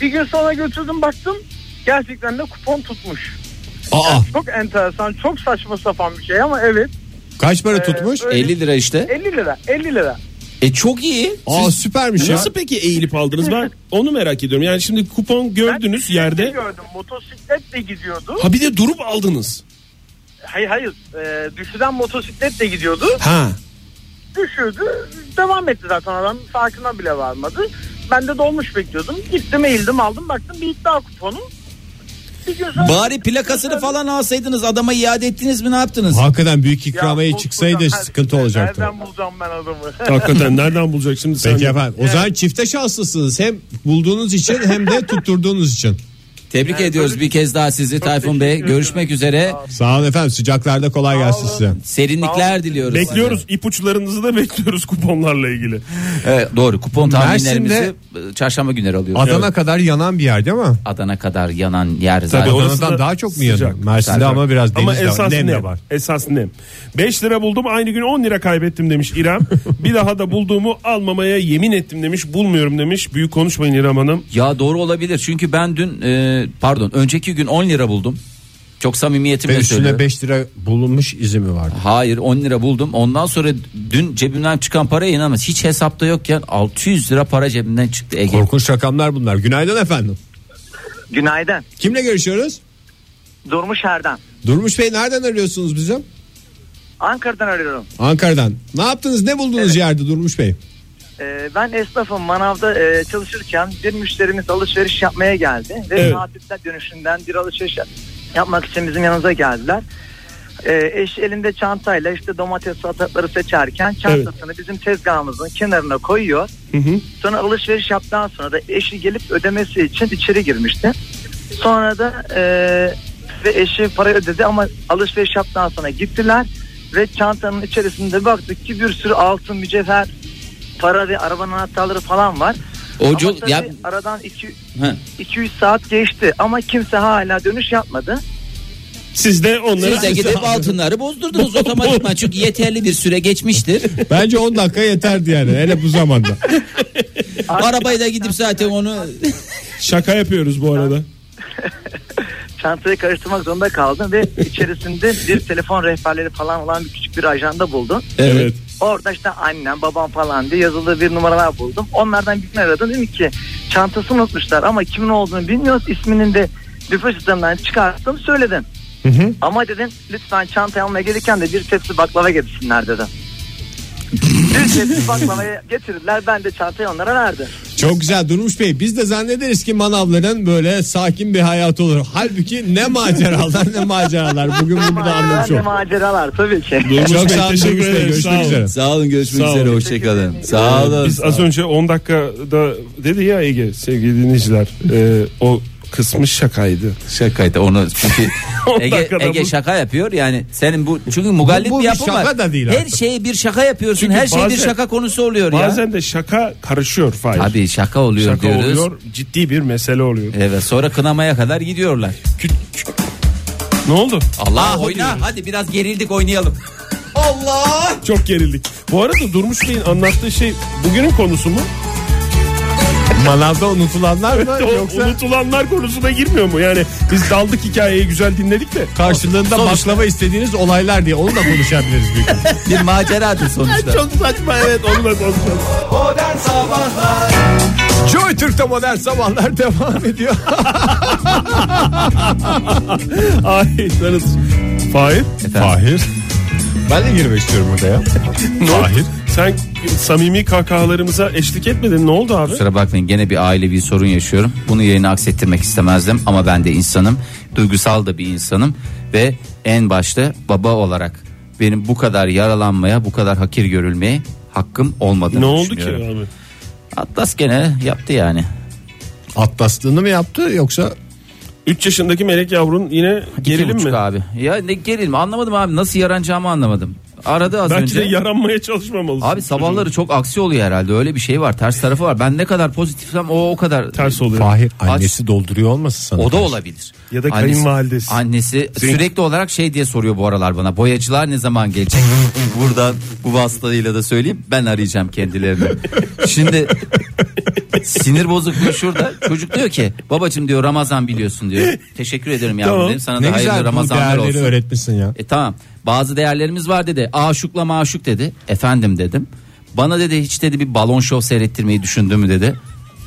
Speaker 6: Bir gün sonra götürdüm baktım. Gerçekten de kupon tutmuş.
Speaker 3: Aa
Speaker 6: Çok enteresan, çok saçma sapan bir şey ama evet.
Speaker 3: kaç para
Speaker 6: Ee,
Speaker 3: tutmuş?
Speaker 6: öyle-
Speaker 1: 50 lira işte.
Speaker 6: 50 lira, 50 lira.
Speaker 1: E çok iyi.
Speaker 3: Aa süpermiş ya.
Speaker 2: Nasıl peki eğilip aldınız? Ben onu merak ediyorum. Yani şimdi kupon gördünüz
Speaker 6: Ben şey
Speaker 2: yerde.
Speaker 6: bisikletle Gördüm, motosikletle gidiyordu.
Speaker 2: Ha bir de durup aldınız.
Speaker 6: Hayır hayır, e, düşüden motosikletle gidiyordu.
Speaker 2: Ha.
Speaker 6: Düşürdü, devam etti zaten adam farkına bile varmadı. Ben de dolmuş bekliyordum. Gittim eğildim aldım baktım bir iddia kuponu. Bir gün sonra-
Speaker 1: Bari plakasını falan alsaydınız adama iade ettiniz mi ne yaptınız?
Speaker 3: Hakikaten büyük
Speaker 6: Ya,
Speaker 3: ikramiye
Speaker 6: bu-
Speaker 3: çıksaydı
Speaker 6: bu-
Speaker 3: sıkıntı olacaktı.
Speaker 6: Nereden bulacağım ben adamı?
Speaker 2: Hakikaten nereden bulacak şimdi sen?
Speaker 3: Peki efendim. O zaman çifte şanslısınız. Hem bulduğunuz için hem de tutturduğunuz için.
Speaker 1: Tebrik ediyoruz bir kez daha sizi Tayfun Bey. Görüşmek üzere.
Speaker 3: Sağ olun efendim. Sıcaklarda kolay gelsin size.
Speaker 1: Serinlikler diliyoruz.
Speaker 2: Bekliyoruz ipuçlarınızı da bekliyoruz kuponlarla ilgili.
Speaker 1: size. Evet, doğru. Kupon tahminlerimizi
Speaker 3: Mersin'de-
Speaker 1: e, çarşamba günleri alıyoruz.
Speaker 3: Adana kadar yanan bir yer değil mi?
Speaker 1: Adana kadar yanan yer zaten.
Speaker 2: Tabii, o- orası
Speaker 3: Adana'dan
Speaker 2: da
Speaker 3: daha çok mu
Speaker 2: sıcak.
Speaker 3: yanıyor? Mersin'de
Speaker 1: Sıcak.
Speaker 3: ama biraz deniz
Speaker 2: Ama
Speaker 3: de var.
Speaker 2: esas
Speaker 3: Nem
Speaker 2: nem,
Speaker 3: de var.
Speaker 2: Esas nem. 5 lira buldum aynı gün 10 lira kaybettim demiş İrem. bir daha da bulduğumu almamaya yemin ettim demiş. Bulmuyorum demiş. Büyük konuşmayın İrem Hanım.
Speaker 1: Ya doğru olabilir. Çünkü ben dün e, pardon önceki gün 10 lira buldum. Çok samimiyetimle
Speaker 3: Ve üstüne
Speaker 1: söylüyorum.
Speaker 3: 5 lira bulunmuş izi mi vardı?
Speaker 1: Hayır 10 lira buldum. Ondan sonra dün cebimden çıkan paraya inanmaz. Hiç hesapta yokken 600 lira para cebimden çıktı Ege.
Speaker 3: Korkunç rakamlar bunlar. Günaydın efendim.
Speaker 6: Günaydın.
Speaker 3: Kimle görüşüyoruz?
Speaker 6: Durmuş Erden.
Speaker 3: Durmuş Bey nereden arıyorsunuz bizim?
Speaker 6: Ankara'dan arıyorum.
Speaker 3: Ankara'dan. Ne yaptınız? Ne buldunuz yerde Durmuş Bey?
Speaker 6: Ee, ben esnafım manavda e, çalışırken bir müşterimiz alışveriş yapmaya geldi ve
Speaker 2: Evet.
Speaker 6: tatilden dönüşünden bir alışveriş yap- yapmak için bizim yanımıza geldiler. Ee, eş elinde çantayla işte domates salatalıkları seçerken çantasını bizim tezgahımızın kenarına koyuyor. Sonra alışveriş yaptıktan sonra da eşi gelip ödemesi için içeri girmişti. Sonra da e, ve eşi parayı ödedi ama alışveriş yaptıktan sonra gittiler ve çantanın içerisinde baktık ki bir sürü altın, mücevher, para ve arabanın anahtarları falan var.
Speaker 7: O
Speaker 6: ama
Speaker 7: çok-
Speaker 6: tabii
Speaker 7: ya-
Speaker 6: aradan iki,
Speaker 7: Ha.
Speaker 6: 200 saat geçti ama kimse hala dönüş yapmadı.
Speaker 2: Siz de onları
Speaker 7: Siz de gidip altınları bozdurdunuz otomatikman çünkü yeterli bir süre geçmiştir.
Speaker 3: Bence 10 dakika yeterdi yani hele bu zamanda.
Speaker 7: Arabayı da gidip zaten onu
Speaker 2: şaka yapıyoruz bu arada.
Speaker 6: Çantayı karıştırmak zorunda kaldım ve içerisinde bir telefon rehberleri falan olan bir küçük bir ajanda buldum.
Speaker 7: evet.
Speaker 6: Orada işte annem babam falan diye yazılı bir numaralar buldum. Onlardan birini aradım. Dedim ki çantasını unutmuşlar ama kimin olduğunu bilmiyoruz. İsminin de nüfus sisteminden çıkarttım söyledim. Ama dedim lütfen çantayı almaya gelirken de bir tepsi baklava getirsinler dedim. bir tepsi baklavayı getirdiler ben de çantayı onlara verdim.
Speaker 3: Çok güzel Durmuş Bey. Biz de zannederiz ki manavların böyle sakin bir hayatı olur. Halbuki ne maceralar ne maceralar. Bugün burada anlamış
Speaker 6: Maceralar,
Speaker 3: olduk.
Speaker 6: maceralar tabii ki.
Speaker 3: Çok
Speaker 2: Bey,
Speaker 3: sağ olun
Speaker 2: teşekkür
Speaker 3: Durmuş Bey.
Speaker 2: ederim, sağ
Speaker 3: Görüşmek
Speaker 2: olun.
Speaker 3: üzere.
Speaker 7: Sağ olun görüşmek
Speaker 2: Sağ olun.
Speaker 7: üzere hoşçakalın. Sağ olun.
Speaker 2: Ee, Biz
Speaker 7: sağ
Speaker 2: az
Speaker 7: olun.
Speaker 2: önce 10 dakikada dedi ya Ege sevgili dinleyiciler. e, o kısmı şakaydı.
Speaker 7: Şakaydı onu çünkü
Speaker 2: 10
Speaker 7: Ege,
Speaker 2: dakikada
Speaker 7: Ege
Speaker 2: bu-
Speaker 7: şaka yapıyor yani senin bu çünkü mugallit
Speaker 3: Bu- bu
Speaker 7: bir
Speaker 3: bir
Speaker 7: yapı var.
Speaker 3: şaka da değil
Speaker 7: Her
Speaker 3: artık.
Speaker 7: şeye bir şaka yapıyorsun
Speaker 2: Çünkü
Speaker 7: her şey bir
Speaker 2: bazen-
Speaker 7: şaka konusu oluyor ya.
Speaker 2: Bazen de şaka karışıyor Fahir.
Speaker 7: Tabii şaka oluyor
Speaker 2: şaka
Speaker 7: diyoruz.
Speaker 2: oluyor ciddi bir mesele oluyor.
Speaker 7: Evet sonra kınamaya kadar gidiyorlar.
Speaker 2: Ne oldu?
Speaker 7: Allah
Speaker 3: Ah,
Speaker 7: oyna hadi biraz gerildik oynayalım. Allah!
Speaker 2: Çok gerildik. Bu arada Durmuş Bey'in anlattığı şey bugünün konusu mu?
Speaker 3: Manavda unutulanlar mı
Speaker 2: O
Speaker 3: yoksa
Speaker 2: Unutulanlar konusuna girmiyor mu? Yani biz daldık hikayeyi güzel dinledik de.
Speaker 3: karşılığında baklava istediğiniz olaylar diye onu da konuşabiliriz bir gün.
Speaker 7: Bir maceradır sonuçta.
Speaker 2: Çok saçma evet onu da konuşalım.
Speaker 3: Joy Türk'te modern sabahlar devam ediyor.
Speaker 2: Ay sanız. Fahir.
Speaker 3: Fahir. Ben de girmek istiyorum burada ya.
Speaker 2: Fahir. Sen samimi kahkahalarımıza eşlik etmedin. Ne oldu abi?
Speaker 7: Kusura bakmayın gene bir ailevi sorun yaşıyorum. Bunu yayına aksettirmek istemezdim ama ben de insanım. Duygusal da bir insanım ve en başta baba olarak benim bu kadar yaralanmaya, bu kadar hakir görülmeye hakkım olmadığını
Speaker 2: Ne oldu ki
Speaker 7: düşünüyorum.
Speaker 2: abi?
Speaker 7: Atlas gene yaptı yani.
Speaker 3: Atlaslığını mı yaptı yoksa
Speaker 2: 3 yaşındaki melek yavrun yine
Speaker 7: İki
Speaker 2: gerilim
Speaker 7: buçuk
Speaker 2: mi?
Speaker 7: abi. Ya ne gerilim anlamadım abi nasıl yaranacağımı anlamadım. Aradı az
Speaker 2: Belki
Speaker 7: önce.
Speaker 2: de yaranmaya çalışmamalısın.
Speaker 7: Abi sabahları çok aksi oluyor herhalde. Öyle bir şey var. Ters tarafı var. Ben ne kadar pozitifsem o o kadar
Speaker 2: ters oluyor.
Speaker 3: Fahir annesi dolduruyor olmasın sana?
Speaker 7: O da olabilir.
Speaker 2: Ya da
Speaker 7: Annesi-
Speaker 2: kayınvalidesi.
Speaker 7: Annesi sürekli olarak şey diye soruyor bu aralar bana. Boyacılar ne zaman gelecek? Buradan bu vasıtayla da söyleyeyim. Ben arayacağım kendilerini. Şimdi sinir bozukluğu şurada. Çocuk diyor ki babacım diyor Ramazan biliyorsun diyor. Teşekkür ederim yavrum
Speaker 2: Tamam.
Speaker 7: dedim. Sana
Speaker 3: Ne
Speaker 7: da hayırlı
Speaker 3: güzel bu
Speaker 7: Ramazanlar
Speaker 3: değerleri
Speaker 7: olsun.
Speaker 3: öğretmişsin ya.
Speaker 7: E tamam bazı değerlerimiz var dedi. Aşukla maşuk dedi. Efendim dedim. Bana dedi hiç dedi bir balon şov seyrettirmeyi düşündü mü dedi.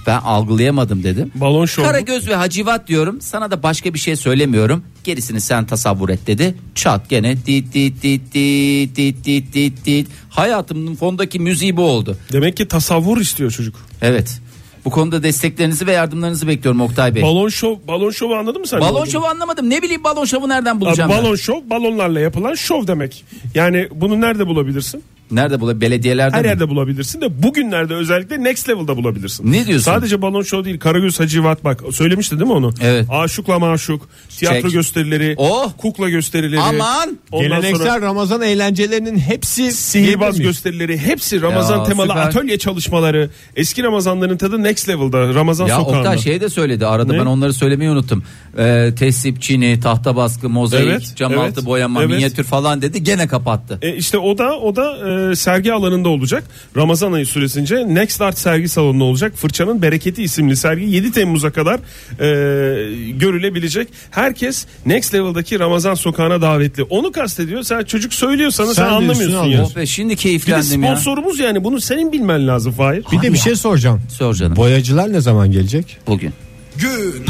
Speaker 7: Ben algılayamadım dedim.
Speaker 2: Balon şovu.
Speaker 7: Karagöz ve hacivat diyorum. Sana da başka bir şey söylemiyorum. Gerisini sen tasavvur et dedi. Çat gene dit dit dit dit dit dit dit dit. Hayatımın fondaki müziği bu oldu.
Speaker 2: Demek ki tasavvur istiyor çocuk.
Speaker 7: Evet. Bu konuda desteklerinizi ve yardımlarınızı bekliyorum Oktay Bey.
Speaker 2: Balon şov, balon şovu anladın mı sen?
Speaker 7: balon şovu anlamadım. Ne bileyim balon şovu nereden
Speaker 2: Abi,
Speaker 7: bulacağım ben?
Speaker 2: balon şov balonlarla yapılan şov demek. Yani bunu nerede bulabilirsin?
Speaker 7: Nerede bulabilirim? Belediyelerde
Speaker 2: Her
Speaker 7: mi?
Speaker 2: yerde bulabilirsin de bugünlerde özellikle next level'da bulabilirsin.
Speaker 7: Ne diyorsun?
Speaker 2: Sadece balon şov değil Karagöz Hacivat bak söylemişti değil mi onu?
Speaker 7: Evet.
Speaker 2: Aşıkla maşuk, tiyatro
Speaker 7: Çek.
Speaker 2: gösterileri,
Speaker 7: Oh!
Speaker 2: kukla gösterileri.
Speaker 7: Aman!
Speaker 2: Ondan
Speaker 3: Geleneksel
Speaker 2: sonra
Speaker 3: Ramazan eğlencelerinin hepsi
Speaker 2: sihirbaz
Speaker 3: diyebilir miyiz?
Speaker 2: gösterileri hepsi Ramazan
Speaker 7: Ya,
Speaker 2: temalı
Speaker 7: süper.
Speaker 2: atölye çalışmaları. Eski Ramazanların tadı next level'da Ramazan
Speaker 7: Ya
Speaker 2: sokağında.
Speaker 7: Oktay şey de söyledi arada
Speaker 2: Ne?
Speaker 7: ben onları söylemeyi unuttum. Ee, tesip çini, tahta baskı, mozaik,
Speaker 2: Evet,
Speaker 7: cam
Speaker 2: evet,
Speaker 7: altı boyama,
Speaker 2: evet.
Speaker 7: minyatür falan dedi gene kapattı.
Speaker 2: E işte o da o da e, sergi alanında olacak. Ramazan ayı süresince Next Art sergi salonunda olacak. Fırçanın Bereketi isimli sergi 7 Temmuz'a kadar e, görülebilecek. Herkes Next Level'daki Ramazan sokağına davetli. Onu kastediyor. Sen çocuk söylüyor sana sen,
Speaker 3: Sen diyorsun,
Speaker 2: anlamıyorsun ya.
Speaker 7: Oh be şimdi
Speaker 2: Bir de
Speaker 7: keyiflendim ya.
Speaker 2: sponsorumuz yani bunu senin bilmen lazım Fahir.
Speaker 3: Bir de bir şey soracağım.
Speaker 7: Sor canım
Speaker 3: Boyacılar ne zaman gelecek?
Speaker 7: bugün.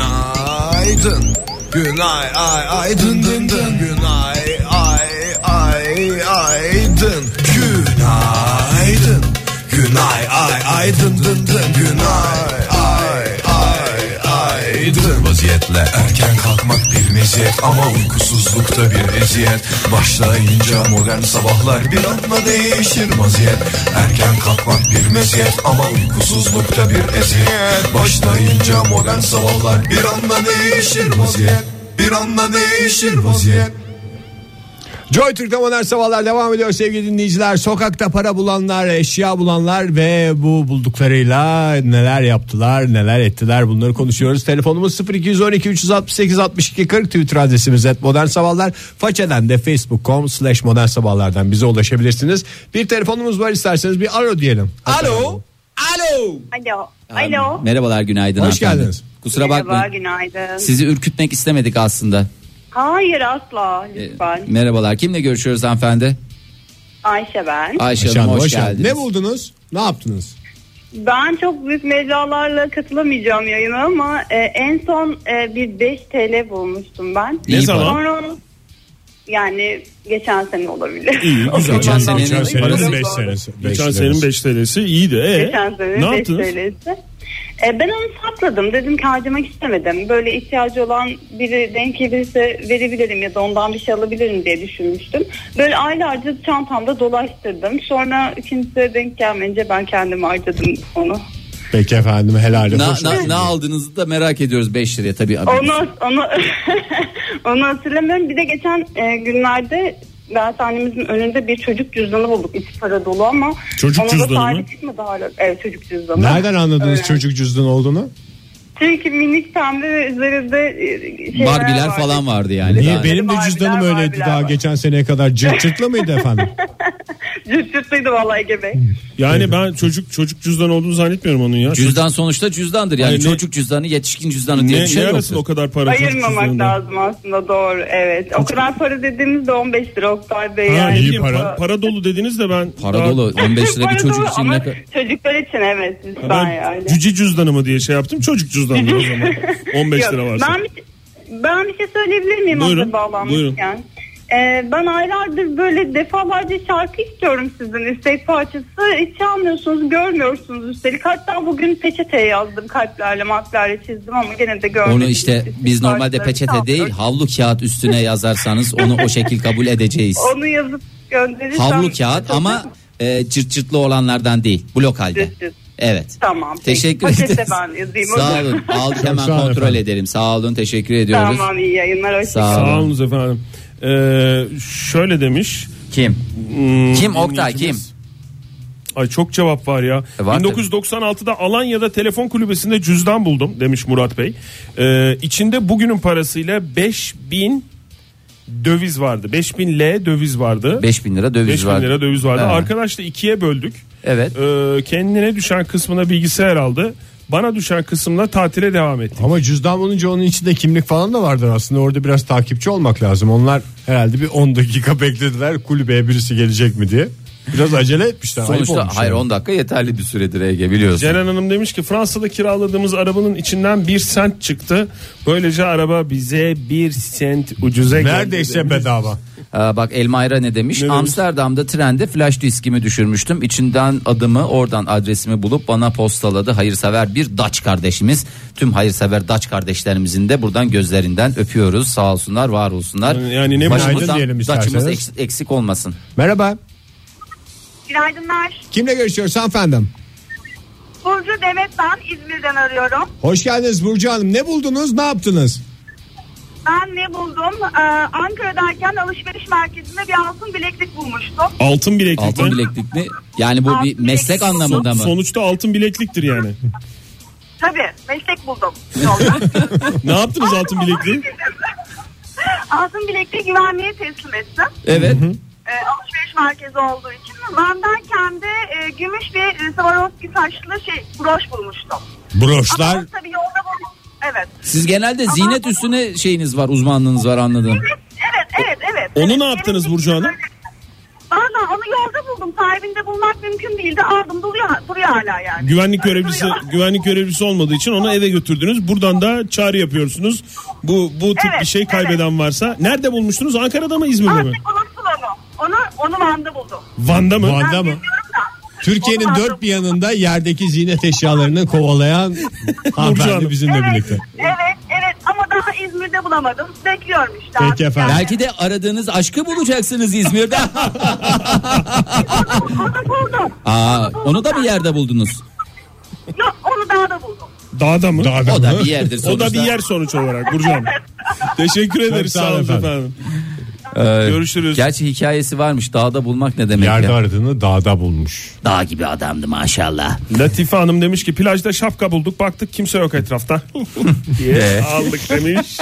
Speaker 5: Günaydın. Günay ay ay dın dın dın. Günay ay ay ay dın. Günaydın. Günay ay ay dın dın dın. Günay ay ay ay aydın Vaziyetle erken kalkmak bir meziyet Ama uykusuzlukta bir eziyet Başlayınca modern sabahlar bir anda değişir vaziyet Erken kalkmak bir meziyet Ama uykusuzlukta bir eziyet Başlayınca modern sabahlar bir anda değişir vaziyet Bir anda değişir vaziyet
Speaker 3: Joy Türk'te modern sabahlar devam ediyor sevgili dinleyiciler. Sokakta para bulanlar, eşya bulanlar ve bu bulduklarıyla neler yaptılar, neler ettiler bunları konuşuyoruz. Telefonumuz 0212 368 62 40 Twitter adresimiz et modern sabahlar. Façeden de facebook.com slash modern sabahlardan bize ulaşabilirsiniz. Bir telefonumuz var isterseniz bir alo diyelim. Alo. Alo.
Speaker 8: Alo. Alo.
Speaker 1: Merhabalar günaydın.
Speaker 3: Hoş
Speaker 1: hanımefendi.
Speaker 3: geldiniz.
Speaker 1: Kusura
Speaker 8: Merhaba,
Speaker 1: bakmayın.
Speaker 8: günaydın.
Speaker 1: Sizi ürkütmek istemedik aslında.
Speaker 8: Hayır asla
Speaker 1: Ee,
Speaker 8: lütfen.
Speaker 1: Merhabalar. Kimle görüşüyoruz hanımefendi?
Speaker 8: Ayşe ben.
Speaker 1: Ayşe
Speaker 3: Şahane,
Speaker 1: Hanım hoş,
Speaker 3: hoş geldiniz.
Speaker 1: geldiniz.
Speaker 3: Ne buldunuz? Ne yaptınız?
Speaker 8: Ben çok büyük mecralarla katılamayacağım yayına ama e, en son e, bir 5 TL bulmuştum ben.
Speaker 1: İyi
Speaker 2: Ne
Speaker 1: para.
Speaker 2: zaman?
Speaker 8: Sonra onu- yani geçen sene olabilir.
Speaker 2: İyi, güzel.
Speaker 8: O
Speaker 1: Geçen
Speaker 8: zamandan
Speaker 1: senenin
Speaker 8: dolayı
Speaker 1: parası
Speaker 8: çok
Speaker 1: beş
Speaker 8: oldu.
Speaker 2: Geçen senin 5 TL'si iyiydi. Ee,
Speaker 8: Geçen sene
Speaker 2: ne
Speaker 8: 5
Speaker 2: yaptınız?
Speaker 8: TL'si. E, ben onu sakladım. Dedim ki harcamak istemedim. Böyle ihtiyacı olan biri denk gelirse verebilirim ya da ondan bir şey alabilirim diye düşünmüştüm. Böyle aylarca çantamda dolaştırdım. Sonra ikincisi denk gelmeyince ben kendim harcadım onu.
Speaker 3: Peki efendim helal
Speaker 1: Na-
Speaker 3: olsun.
Speaker 1: na- ne aldığınızı da merak ediyoruz 5 liraya tabii.
Speaker 8: Onu onu onu hatırlamıyorum. Bir de geçen e, günlerde dershanemizin önünde bir çocuk cüzdanı bulduk. İçi para dolu ama
Speaker 2: Çocuk
Speaker 8: ona
Speaker 2: cüzdanı
Speaker 8: da sahibi
Speaker 2: mı?
Speaker 8: çıkmadı hala. Evet çocuk cüzdanı.
Speaker 3: Nereden anladınız
Speaker 8: Öyle.
Speaker 3: çocuk cüzdan olduğunu?
Speaker 8: Çünkü minik pembe ve üzerinde e, şeyler
Speaker 1: Barbiler
Speaker 8: vardı.
Speaker 1: falan vardı yani.
Speaker 3: Niye
Speaker 1: Daha-
Speaker 3: benim de
Speaker 8: Barbiler,
Speaker 3: cüzdanım
Speaker 8: barbiler
Speaker 3: öyleydi daha
Speaker 8: var.
Speaker 3: geçen seneye kadar cırt cırtlı mıydı efendim?
Speaker 8: Cürt cürtlüydü vallahi gebe.
Speaker 2: Yani ben çocuk çocuk cüzdan olduğunu zannetmiyorum onun ya.
Speaker 1: Cüzdan sonuçta cüzdandır yani
Speaker 2: Hayır, ne-
Speaker 1: çocuk cüzdanı yetişkin cüzdanı diye
Speaker 2: ne,
Speaker 1: bir şey
Speaker 2: ne
Speaker 1: yok.
Speaker 2: arasın o kadar para çocuk
Speaker 8: Ayırmamak
Speaker 2: cüzdanında?
Speaker 8: lazım aslında doğru evet. O kadar para dediğimizde 15 lira Oktay Bey
Speaker 2: Ha,
Speaker 8: yani.
Speaker 2: iyi para.
Speaker 8: Bu-
Speaker 2: Para dolu dediniz de ben.
Speaker 1: Para
Speaker 2: daha-
Speaker 1: dolu 15 lira bir
Speaker 8: Para
Speaker 1: çocuk
Speaker 8: dolu
Speaker 1: için
Speaker 8: ama
Speaker 1: ne kadar-
Speaker 8: Çocuklar için evet
Speaker 2: Ben
Speaker 8: lütfen yani.
Speaker 2: cüci cüzdanı mı diye şey yaptım. Çocuk cüzdanı o zaman. 15
Speaker 8: Yok,
Speaker 2: lira varsa.
Speaker 8: Ben bir, ben bir şey söyleyebilir miyim
Speaker 2: Buyurun,
Speaker 8: hazır bağlanmışken? Ee, ben aylardır böyle defalarca şarkı istiyorum sizden istek parçası. Hiç almıyorsunuz, görmüyorsunuz üstelik. Hatta bugün peçeteye yazdım kalplerle, matlarla çizdim ama gene de görmedim.
Speaker 1: Onu işte
Speaker 8: İstek
Speaker 1: biz normalde
Speaker 8: parçaları
Speaker 1: peçete
Speaker 8: çalmıyor.
Speaker 1: değil havlu kağıt üstüne yazarsanız onu o şekil kabul edeceğiz.
Speaker 8: Onu yazıp gönderirsem.
Speaker 1: Havlu kağıt ama e, cırt cırtlı olanlardan değil blok halde.
Speaker 8: Cırt cırt.
Speaker 1: Evet.
Speaker 8: Tamam.
Speaker 1: Teşekkür
Speaker 8: Poşete
Speaker 1: ederiz.
Speaker 8: ben yazayım.
Speaker 1: Sağ olun. Aldık
Speaker 3: Çok
Speaker 1: hemen
Speaker 3: sağ olun
Speaker 1: kontrol
Speaker 3: efendim.
Speaker 1: edelim. Sağ olun. Teşekkür ediyoruz.
Speaker 8: Tamam iyi yayınlar. Hoşçakalın.
Speaker 1: Sağ
Speaker 2: Sağ
Speaker 1: olun.
Speaker 2: olunuz efendim. Ee, şöyle demiş.
Speaker 1: Kim?
Speaker 2: Hmm,
Speaker 1: Kim Oktay kim?
Speaker 2: dinleyicimiz. Ay çok cevap var ya.
Speaker 1: E, var
Speaker 2: 1996'da Alanya'da telefon kulübesinde cüzdan buldum demiş Murat Bey. Ee, içinde bugünün parasıyla 5000 döviz vardı. 5000 L döviz vardı.
Speaker 1: 5000 lira döviz
Speaker 2: 5000
Speaker 1: vardı.
Speaker 2: lira döviz vardı.
Speaker 1: Ha.
Speaker 2: Arkadaşla ikiye böldük.
Speaker 1: Evet.
Speaker 2: Ee, kendine düşen kısmına bilgisayar aldı. Bana düşen kısımla tatile devam ettik.
Speaker 3: Ama cüzdan olunca onun içinde kimlik falan da vardır aslında. Orada biraz takipçi olmak lazım. Onlar herhalde bir 10 dakika beklediler kulübeye birisi gelecek mi diye. Biraz acele etmişler. ayıp
Speaker 1: Sonuçta
Speaker 3: olmuş
Speaker 1: hayır
Speaker 3: yani.
Speaker 1: 10 dakika yeterli bir süredir Ege biliyorsun.
Speaker 2: Ceren Hanım demiş ki Fransa'da kiraladığımız arabanın içinden bir sent çıktı. Böylece araba bize bir sent ucuza geldi.
Speaker 3: Neredeyse
Speaker 2: demiş.
Speaker 3: bedava.
Speaker 1: Aa, bak Elmayra ne demiş?
Speaker 2: demiş?
Speaker 1: Amsterdam'da trende flash diskimi düşürmüştüm. İçinden adımı oradan adresimi bulup bana postaladı. Hayırsever bir Daç kardeşimiz. Tüm hayırsever Daç kardeşlerimizin de buradan gözlerinden öpüyoruz. Sağ olsunlar, var olsunlar.
Speaker 2: Yani ne
Speaker 1: Başımızdan
Speaker 3: günaydın diyelim
Speaker 1: Daç'ımız
Speaker 3: isterseniz.
Speaker 1: eks- eksik olmasın.
Speaker 3: Merhaba.
Speaker 7: Günaydınlar.
Speaker 3: Kimle görüşüyoruz hanımefendim?
Speaker 7: Burcu Demet ben İzmir'den arıyorum.
Speaker 3: Hoş geldiniz Burcu Hanım. Ne buldunuz ne yaptınız?
Speaker 7: Ben ne buldum? Ee, Ankara'dayken alışveriş merkezinde bir altın bileklik bulmuştum.
Speaker 2: Altın bileklik.
Speaker 1: Altın
Speaker 2: mi?
Speaker 1: bileklik mi? Yani bu
Speaker 7: Altın
Speaker 1: bir
Speaker 7: bileklik.
Speaker 1: meslek anlamında mı?
Speaker 2: Sonuçta altın bilekliktir yani.
Speaker 7: Tabii meslek buldum. yolda.
Speaker 2: ne yaptınız altın bilekliği?
Speaker 7: altın bilekliği güvenliğe teslim ettim.
Speaker 1: Evet.
Speaker 7: Ee, alışveriş merkezi olduğu için. Bendeyken de e, gümüş bir e, Swarovski taşlı şey broş bulmuştum.
Speaker 3: Broşlar.
Speaker 7: Ama tabii yolda buldum. Evet.
Speaker 1: Siz genelde zinet üstüne şeyiniz var, uzmanlığınız var anladım.
Speaker 7: Evet, evet, evet, evet.
Speaker 2: Onu
Speaker 7: Evet,
Speaker 2: ne yaptınız
Speaker 7: benim
Speaker 2: Burcu Hanım?
Speaker 7: Valla onu yolda buldum. Sahibinde bulmak mümkün değildi. Aldım duruyor, duruyor hala yani.
Speaker 2: Güvenlik görevlisi güvenlik görevlisi olmadığı için onu eve götürdünüz. Buradan da çağrı yapıyorsunuz. Bu bu tip
Speaker 7: Evet,
Speaker 2: bir şey kaybeden varsa. Nerede bulmuştunuz? Ankara'da mı İzmir'de mi?
Speaker 7: Artık unuttum onu. Onu, onu Van'da buldum.
Speaker 2: Van'da mı?
Speaker 3: Van'da mı?
Speaker 7: Ben bilmiyorum da.
Speaker 3: Türkiye'nin
Speaker 7: Onu
Speaker 3: dört
Speaker 7: Van'da
Speaker 3: bir yanında yerdeki ziynet eşyalarını kovalayan
Speaker 2: Hanım.
Speaker 3: hanımefendi bizimle
Speaker 7: buldum.
Speaker 3: birlikte.
Speaker 7: Evet, evet.
Speaker 8: de bulamadım. Bekliyorum işte.
Speaker 3: Peki
Speaker 8: artık
Speaker 3: efendim.
Speaker 8: yani.
Speaker 1: Belki de aradığınız aşkı bulacaksınız İzmir'de.
Speaker 8: Onu, onu buldum.
Speaker 7: Aa, onu da bir yerde buldunuz.
Speaker 8: Yok onu daha da buldum.
Speaker 2: Dağda mı?
Speaker 3: Daha
Speaker 7: O da bir yerdir
Speaker 2: O
Speaker 7: sonuçta.
Speaker 2: da bir yer sonuç olarak Burcu Hanım. Teşekkür ederiz.
Speaker 3: sağ olun
Speaker 2: Sağ olun
Speaker 3: efendim.
Speaker 2: efendim.
Speaker 7: Ee,
Speaker 2: Görüşürüz.
Speaker 7: Gerçi hikayesi varmış. Dağda bulmak ne demek
Speaker 3: Yerde
Speaker 7: ya?
Speaker 3: aradığını dağda bulmuş.
Speaker 7: Dağ gibi adamdı maşallah.
Speaker 2: Latife Hanım demiş ki plajda şapka bulduk baktık kimse yok etrafta. diye
Speaker 7: Ee.
Speaker 2: aldık demiş.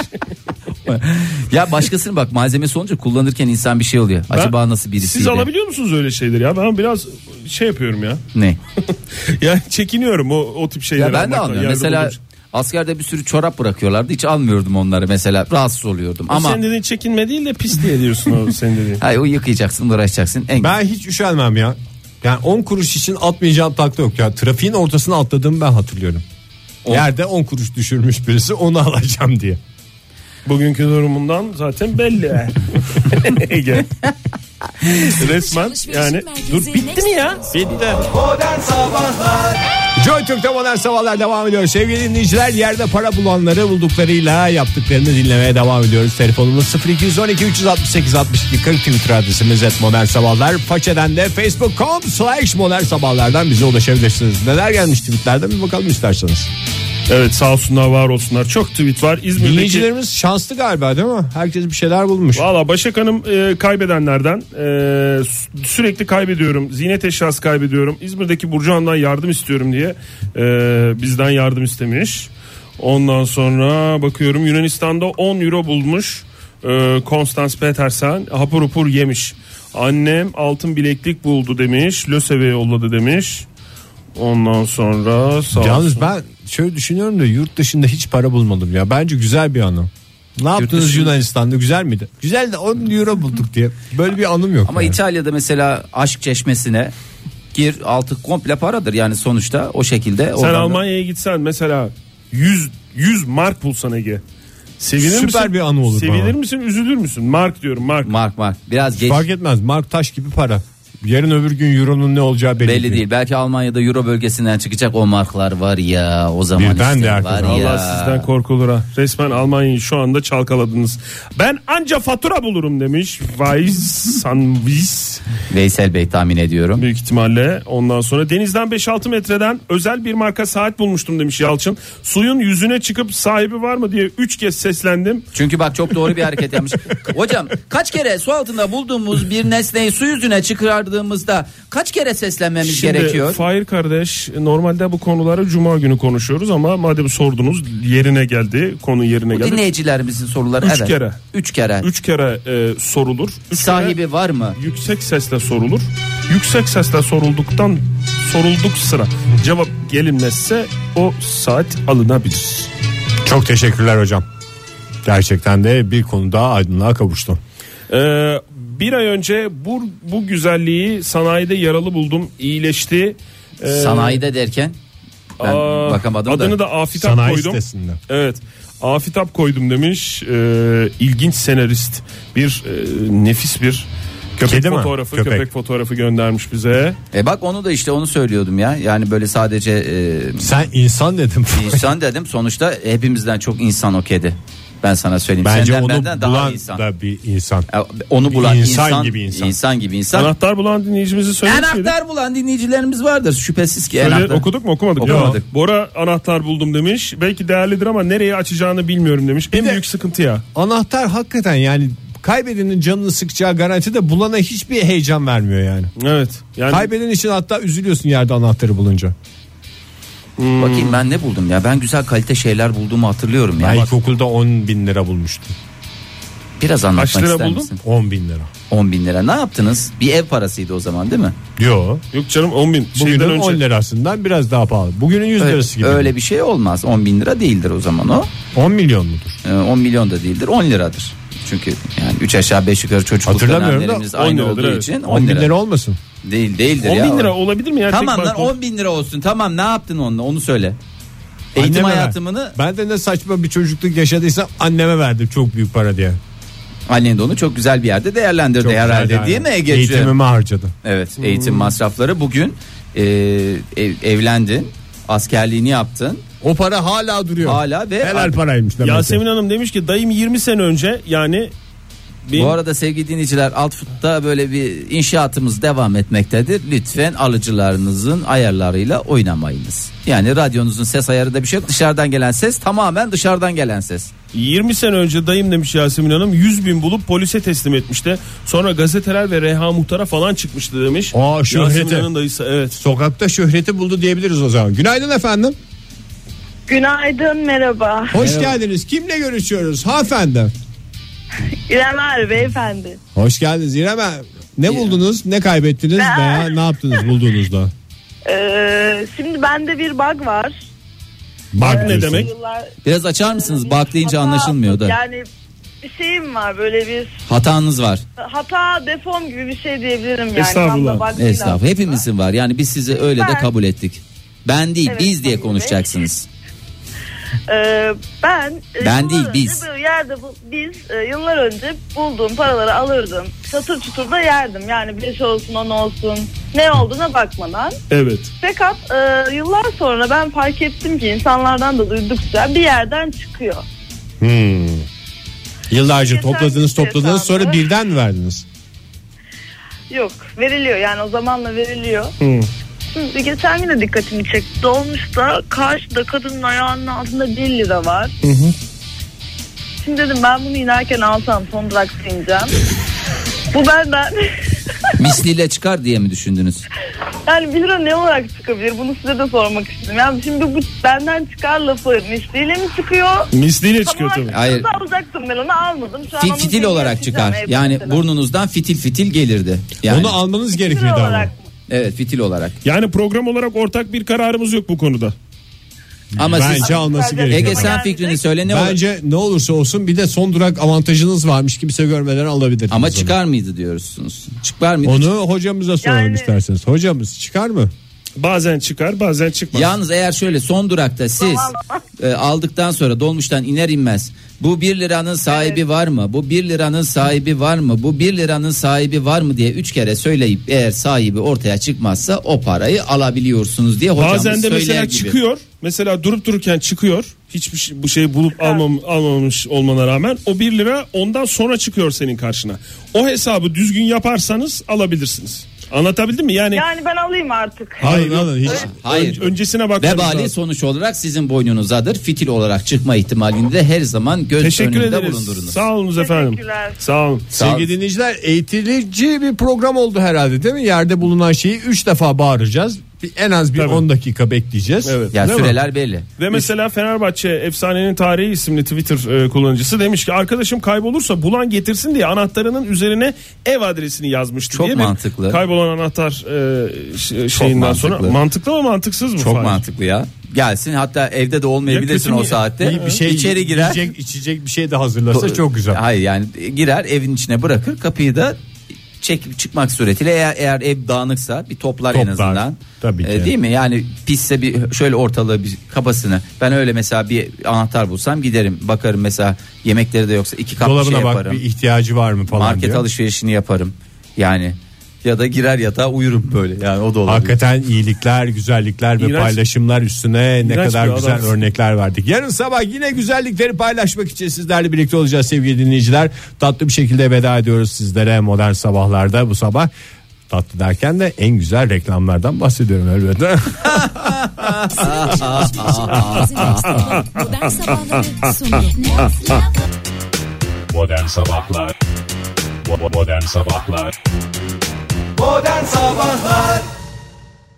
Speaker 7: ya başkasının bak malzemesi olunca kullanırken insan bir şey oluyor. Acaba nasıl birisi?
Speaker 2: Siz alabiliyor musunuz öyle şeyleri ya? Ben biraz şey yapıyorum ya.
Speaker 7: Ne?
Speaker 2: Yani çekiniyorum o, o tip şeyleri.
Speaker 7: Ya ben de
Speaker 2: almaktan.
Speaker 7: almıyorum.
Speaker 2: Yerde
Speaker 7: Mesela
Speaker 2: bulunca.
Speaker 7: askerde bir sürü çorap bırakıyorlardı. Hiç almıyordum onları mesela. Rahatsız oluyordum.
Speaker 2: Ama...
Speaker 7: Ama
Speaker 2: Sen dediğin çekinme değil de pis diye diyorsun o sen dediğin.
Speaker 7: hayır, o yıkayacaksın, uğraşacaksın. En
Speaker 3: Ben hiç üşenmem ya. Yani 10 kuruş için atmayacağım takla yok ya. Trafiğin ortasına atladığımı ben hatırlıyorum. Yerde 10 kuruş düşürmüş birisi onu alacağım diye.
Speaker 2: Bugünkü durumundan zaten belli. Ege. Resmen yani dur bitti mi ya? Bitti.
Speaker 3: Joy Türk'te modern sabahlar devam ediyor. Sevgili dinleyiciler yerde para bulanları bulduklarıyla yaptıklarını dinlemeye devam ediyoruz. Telefonumuz 0212 368 62 40 Twitter adresimiz et modern sabahlar. Façeden de facebook.com slash modern sabahlardan bize ulaşabilirsiniz. Neler gelmiş tweetlerden bir bakalım isterseniz.
Speaker 2: Evet sağ olsunlar var olsunlar. Çok tweet var. İzmir'deki
Speaker 3: Dinleyicilerimiz şanslı galiba değil mi? Herkes bir şeyler bulmuş.
Speaker 2: Valla Başak Hanım e, kaybedenlerden e, sü- sürekli kaybediyorum. Zinet eşyası kaybediyorum. İzmir'deki Burcu Hanım'dan yardım istiyorum diye e, bizden yardım istemiş. Ondan sonra bakıyorum Yunanistan'da 10 euro bulmuş. E, Konstans Petersen hapur hapur yemiş. Annem altın bileklik buldu demiş. Löseve yolladı demiş. Ondan sonra sağ
Speaker 3: Yalnız
Speaker 2: olsun.
Speaker 3: ben şöyle düşünüyorum da yurt dışında hiç para bulmadım ya. Bence güzel bir anı. Ne yaptınız
Speaker 7: dışında-
Speaker 3: Yunanistan'da güzel miydi? Güzel de 10 euro bulduk diye. Böyle bir anım yok.
Speaker 7: Ama
Speaker 3: yani.
Speaker 7: İtalya'da mesela aşk çeşmesine gir altı komple paradır yani sonuçta o şekilde.
Speaker 2: Sen
Speaker 7: oradan da-
Speaker 2: Almanya'ya gitsen mesela 100 100 mark bulsan Ege. Sevinir
Speaker 3: Süper
Speaker 2: misin?
Speaker 3: bir anı olur
Speaker 2: Sevinir
Speaker 3: bana.
Speaker 2: misin, üzülür müsün? Mark diyorum, mark.
Speaker 7: Mark mark biraz geç
Speaker 3: Fark etmez. Mark taş gibi para. Yarın öbür gün euronun ne olacağı belli,
Speaker 7: belli değil. Belki Almanya'da Euro bölgesinden çıkacak o marklar var ya o zaman
Speaker 3: Birden
Speaker 7: işte
Speaker 3: de herkes
Speaker 7: var
Speaker 3: Allah
Speaker 7: ya.
Speaker 2: Allah sizden korkulur ha. Resmen Almanya'yı şu anda çalkaladınız. Ben anca fatura bulurum demiş. Weisanvis
Speaker 7: Veysel Bey tahmin ediyorum.
Speaker 2: büyük ihtimalle. Ondan sonra denizden 5-6 metreden özel bir marka saat bulmuştum demiş Yalçın. Suyun yüzüne çıkıp sahibi var mı diye 3 kez seslendim.
Speaker 7: Çünkü bak çok doğru bir hareket yapmış. Hocam kaç kere su altında bulduğumuz bir nesneyi su yüzüne çıkardığımızda kaç kere seslenmemiz gerekiyor?
Speaker 2: Fahir kardeş normalde bu konuları cuma günü konuşuyoruz ama madem sordunuz yerine geldi. Konu yerine
Speaker 7: Bu
Speaker 2: geldi.
Speaker 7: dinleyicilerimizin soruları.
Speaker 2: Üç
Speaker 7: evet.
Speaker 2: kere.
Speaker 7: Üç kere.
Speaker 2: 3 kere e, sorulur. Üç
Speaker 7: Sahibi var mı?
Speaker 2: yüksek sesle sorulur. Yüksek sesle sorulduktan sorulduk sıra cevap gelinmezse o saat alınabilir.
Speaker 3: Çok teşekkürler hocam. Gerçekten de bir konu daha aydınlığa kavuştu.
Speaker 2: Ee, bir ay önce bu, bu güzelliği sanayide yaralı buldum. iyileşti. Ee,
Speaker 7: Sanayide derken ben
Speaker 2: aa,
Speaker 7: bakamadım da.
Speaker 2: Adını da Afitap
Speaker 3: Sanayi
Speaker 2: koydum.
Speaker 3: sitesinde.
Speaker 2: Evet. Afitap koydum demiş. Ee, ilginç senarist. Bir e, nefis bir köpek
Speaker 3: Kedi mi?
Speaker 2: fotoğrafı
Speaker 3: Köpek.
Speaker 2: köpek fotoğrafı göndermiş bize.
Speaker 7: E bak onu da işte onu söylüyordum ya. Yani böyle sadece e,
Speaker 3: Sen insan dedim.
Speaker 7: insan dedim. Sonuçta hepimizden çok insan o kedi. Ben sana söyleyeyim.
Speaker 3: Bence
Speaker 7: Senden
Speaker 3: onu
Speaker 7: benden daha
Speaker 3: bulan
Speaker 7: insan.
Speaker 3: da bir insan.
Speaker 7: E, Onu bulan
Speaker 3: İnsan
Speaker 7: insan,
Speaker 3: gibi insan.
Speaker 7: insan gibi insan.
Speaker 2: Anahtar bulan dinleyicimizi söylemiş miydik?
Speaker 7: Anahtar bulan dinleyicilerimiz vardır şüphesiz ki.
Speaker 2: Öyle
Speaker 7: anahtar-
Speaker 2: okuduk mu okumadık.
Speaker 7: Okumadık.
Speaker 2: Ya, Bora anahtar buldum demiş. Belki değerlidir ama nereye açacağını bilmiyorum demiş. en
Speaker 3: de-
Speaker 2: büyük sıkıntı ya.
Speaker 3: Anahtar hakikaten yani kaybedenin canını sıkacağı garanti de bulana hiçbir heyecan vermiyor yani.
Speaker 2: Evet. Yani
Speaker 3: Kaybeden için hatta üzülüyorsun yerde anahtarı bulunca.
Speaker 2: Hmm.
Speaker 7: Bakayım ben ne buldum ya. Ben güzel kalite şeyler bulduğumu hatırlıyorum ya.
Speaker 3: Ben
Speaker 7: Bak,
Speaker 3: ilkokulda 10 bin lira bulmuştum.
Speaker 7: Biraz
Speaker 2: Kaç
Speaker 7: anlatmak
Speaker 2: lira
Speaker 7: ister
Speaker 2: buldun?
Speaker 7: misin?
Speaker 3: 10 bin lira.
Speaker 7: 10 bin lira. Ne yaptınız? Bir ev parasıydı o zaman değil mi?
Speaker 3: Yo.
Speaker 2: yok canım 10 bin. Şeyden
Speaker 3: Bugünün
Speaker 2: önce.
Speaker 3: 10 lirasından biraz daha pahalı. Bugünün 100
Speaker 7: Öyle,
Speaker 3: lirası gibi.
Speaker 7: öyle bir şey olmaz. 10 bin lira değildir o zaman o.
Speaker 3: 10 milyon mudur?
Speaker 7: Ee, 10 milyon da değildir. 10 liradır. Çünkü yani 3 aşağı 5 yukarı çocukluk
Speaker 3: Hatırlamıyorum da
Speaker 7: dönemlerimiz
Speaker 2: 10
Speaker 7: aynı
Speaker 2: liradır,
Speaker 7: olduğu
Speaker 2: evet.
Speaker 7: için 10,
Speaker 3: 10 bin
Speaker 7: lira.
Speaker 3: lira olmasın.
Speaker 7: Değil değildir
Speaker 2: 10
Speaker 7: ya.
Speaker 2: bin lira olabilir mi ya?
Speaker 7: Tamam
Speaker 2: Tek
Speaker 7: lan
Speaker 2: banko-
Speaker 7: 10 bin lira olsun. Tamam ne yaptın onunla onu söyle. Eğitim
Speaker 3: Anneme ver.
Speaker 7: hayatımını
Speaker 3: Ben de ne saçma bir çocukluk yaşadıysam anneme verdim çok büyük para diye.
Speaker 7: annen de onu çok güzel bir yerde değerlendirdi
Speaker 3: Çok
Speaker 7: herhalde
Speaker 3: güzeldi,
Speaker 7: değil mi
Speaker 3: aynen.
Speaker 7: Ege'ciğim?
Speaker 3: Eğitimimi harcadım.
Speaker 7: Evet eğitim masrafları bugün e, ev- evlendin Askerliğini yaptın.
Speaker 3: O para hala duruyor.
Speaker 7: Hala ve-
Speaker 3: helal paraymış demek. ki.
Speaker 2: Yasemin Hanım demiş ki dayım 20 sene önce yani benim
Speaker 7: Bu arada sevgili dinleyiciler alt futta böyle bir inşaatımız devam etmektedir. Lütfen alıcılarınızın ayarlarıyla oynamayınız. Yani radyonuzun ses ayarında bir şey yok. Dışarıdan gelen ses tamamen dışarıdan gelen ses.
Speaker 2: 20 sene önce dayım demiş Yasemin Hanım 100 bin bulup polise teslim etmişti. Sonra gazeteler ve Reha Muhtar'a falan çıkmıştı demiş.
Speaker 3: Aa, şöhreti.
Speaker 2: Yasemin Hanım dayısı evet.
Speaker 3: Sokakta şöhreti buldu diyebiliriz o zaman. Günaydın efendim.
Speaker 8: Günaydın merhaba.
Speaker 3: Hoş geldiniz. Kimle görüşüyoruz hanımefendi?
Speaker 8: İrem Er beyefendi.
Speaker 3: Hoş geldiniz İrem Hanım. Ne buldunuz, ne kaybettiniz
Speaker 8: Ben-
Speaker 3: veya ne yaptınız bulduğunuzda?
Speaker 8: Ee, şimdi bende bir bug var.
Speaker 3: Bak
Speaker 2: ne demek?
Speaker 8: Yıllar
Speaker 7: Biraz açar mısınız? Bak deyince
Speaker 8: Hata-
Speaker 7: anlaşılmıyor da.
Speaker 8: Yani bir şeyim var böyle bir
Speaker 7: Hatanız var.
Speaker 8: hata defom gibi bir şey diyebilirim yani.
Speaker 2: Estağfurullah.
Speaker 8: Tam da bug değil
Speaker 7: Estağfurullah.
Speaker 8: aslında.
Speaker 7: Hepimizin var. Yani biz sizi öyle de
Speaker 8: Ben-
Speaker 7: kabul ettik. Ben değil
Speaker 8: Evet,
Speaker 7: biz diye
Speaker 8: Sayın
Speaker 7: konuşacaksınız.
Speaker 8: Ee, ben e,
Speaker 7: Ben
Speaker 8: yıllar
Speaker 7: değil,
Speaker 8: önce
Speaker 7: biz.
Speaker 8: bir yerde bu- biz e, yıllar önce bulduğum paraları alırdım. Çatır çutur da yerdim. Yani beş olsun on olsun. Ne olduğuna bakmadan.
Speaker 2: Evet.
Speaker 8: Fakat e, yıllar sonra ben fark ettim ki insanlardan da duydukça bir yerden çıkıyor.
Speaker 3: Yıllarca
Speaker 8: Yeter
Speaker 3: topladınız
Speaker 8: ki şey
Speaker 3: topladınız
Speaker 8: hesabı.
Speaker 3: sonra birden mi verdiniz?
Speaker 8: Yok veriliyor yani o zamanla veriliyor. Şimdi geçen gün de dikkatimi çekti. Dolmuşta karşıda kadının ayağının altında 1 lira var. Şimdi dedim ben bunu inerken alsam son durakta ineceğim. Bu benden
Speaker 7: Misliyle çıkar diye mi düşündünüz?
Speaker 8: yani 1 lira ne olarak çıkabilir bunu size de sormak istedim. Yani şimdi bu benden çıkar lafı misliyle mi çıkıyor?
Speaker 2: Misliyle çıkıyor
Speaker 8: Tamam,
Speaker 2: tabii.
Speaker 7: Hayır.
Speaker 8: kızı alacaktım ben onu almadım. Şu an
Speaker 7: Fi-
Speaker 8: onun
Speaker 7: Fitil
Speaker 8: şeyini
Speaker 7: olarak
Speaker 8: yapacağım
Speaker 7: çıkar.
Speaker 8: evde
Speaker 7: Yani
Speaker 8: mesela.
Speaker 7: burnunuzdan fitil fitil gelirdi. Yani,
Speaker 3: Onu almanız
Speaker 8: Fitil
Speaker 3: gerekirdi ama.
Speaker 8: olarak mı?
Speaker 7: Evet fitil olarak.
Speaker 2: Yani program olarak ortak bir kararımız yok bu konuda.
Speaker 7: Ama siz
Speaker 3: Bence alması
Speaker 8: Ege
Speaker 3: gerekiyor.
Speaker 7: Ege sen
Speaker 8: Yani-
Speaker 7: fikrini söyle ne olur.
Speaker 3: Bence ne olursa olsun bir de son durak avantajınız varmış kimse görmeden alabilirsiniz.
Speaker 7: Ama
Speaker 3: onu.
Speaker 7: çıkar mıydı diyorsunuz. Çıkar mıydı?
Speaker 3: Onu hocamıza soralım
Speaker 8: Yani-
Speaker 3: isterseniz. Hocamız çıkar mı?
Speaker 2: Bazen çıkar bazen çıkmaz.
Speaker 7: Yalnız eğer şöyle son durakta siz e, aldıktan sonra dolmuştan iner inmez bu 1 liranın sahibi var mı? Bu 1 liranın sahibi var mı? Bu 1 liranın sahibi var mı diye 3 kere söyleyip eğer sahibi ortaya çıkmazsa o parayı alabiliyorsunuz diye hocamız
Speaker 2: Bazen de
Speaker 7: söyler
Speaker 2: mesela
Speaker 7: gibi.
Speaker 2: çıkıyor. Mesela durup dururken çıkıyor. Hiçbir şey, bu şeyi bulup almam, almamış olmana rağmen o 1 lira ondan sonra çıkıyor senin karşına. O hesabı düzgün yaparsanız alabilirsiniz. Anlatabildim mi? Yani
Speaker 8: Yani ben alayım artık.
Speaker 3: Hayır alın hiç.
Speaker 2: şey.
Speaker 7: Hayır.
Speaker 2: öncesine bakmanız
Speaker 7: Vebali
Speaker 2: lazım.
Speaker 7: sonuç olarak sizin boynunuzadır. Fitil olarak çıkma ihtimalini de her zaman göz
Speaker 2: Teşekkür
Speaker 7: önünde
Speaker 2: ederiz.
Speaker 7: bulundurunuz.
Speaker 2: Sağ olunuz efendim.
Speaker 8: Teşekkürler.
Speaker 2: Sağ olun.
Speaker 7: Sağ olun.
Speaker 3: Sevgili dinleyiciler eğitici bir program oldu herhalde değil mi? Yerde bulunan şeyi 3 defa bağıracağız. Bir, en az bir
Speaker 2: Tabii.
Speaker 3: 10 dakika bekleyeceğiz.
Speaker 2: Evet.
Speaker 7: Ya
Speaker 2: Değil mi?
Speaker 7: süreler belli.
Speaker 2: Ve mesela Fenerbahçe efsanenin tarihi isimli Twitter e, kullanıcısı demiş ki arkadaşım kaybolursa bulan getirsin diye anahtarının üzerine ev adresini yazmıştı
Speaker 7: Çok
Speaker 2: diye.
Speaker 7: mantıklı.
Speaker 2: Bir kaybolan anahtar e, ş- şeyinden
Speaker 7: mantıklı.
Speaker 2: sonra mantıklı mı mantıksız mı?
Speaker 7: Çok
Speaker 2: Fahir?
Speaker 7: mantıklı ya. Gelsin hatta evde de
Speaker 2: Ya
Speaker 7: olmayabilirsin
Speaker 2: kötü
Speaker 7: o
Speaker 2: mü-
Speaker 7: saatte.
Speaker 3: İyi bir şey
Speaker 7: İçeri girer.
Speaker 3: Yiyecek, içecek bir şey de hazırlasa çok güzel.
Speaker 7: Hayır yani girer evin içine bırakır kapıyı da çekip çıkmak suretiyle eğer, eğer ev dağınıksa bir toplar, en
Speaker 3: Toplar,
Speaker 7: azından. Ee,
Speaker 3: tabii ki.
Speaker 7: değil mi? Yani pisse bir şöyle ortalığı bir kabasını. Ben öyle mesela bir anahtar bulsam giderim bakarım mesela yemekleri de yoksa iki kap bir
Speaker 3: Dolabına
Speaker 7: şey
Speaker 3: bak
Speaker 7: yaparım.
Speaker 3: bir ihtiyacı var mı falan
Speaker 7: Market
Speaker 3: diyor.
Speaker 7: alışverişini yaparım. Yani ya da girer yatağa uyurum böyle. Yani o da olabilir.
Speaker 3: Hakikaten iyilikler, güzellikler ve
Speaker 2: İğrenç.
Speaker 3: paylaşımlar üstüne ne
Speaker 2: İğrenç
Speaker 3: kadar
Speaker 2: bir
Speaker 3: güzel
Speaker 2: adamsın.
Speaker 3: örnekler verdik. Yarın sabah yine güzellikleri paylaşmak için sizlerle birlikte olacağız sevgili dinleyiciler. Tatlı bir şekilde veda ediyoruz sizlere modern sabahlarda bu sabah. Tatlı derken de en güzel reklamlardan bahsediyorum elbette.
Speaker 9: Modern Sabahları sunuyor.
Speaker 10: Modern Sabahlar Modern Sabahlar
Speaker 4: Modern Sabahlar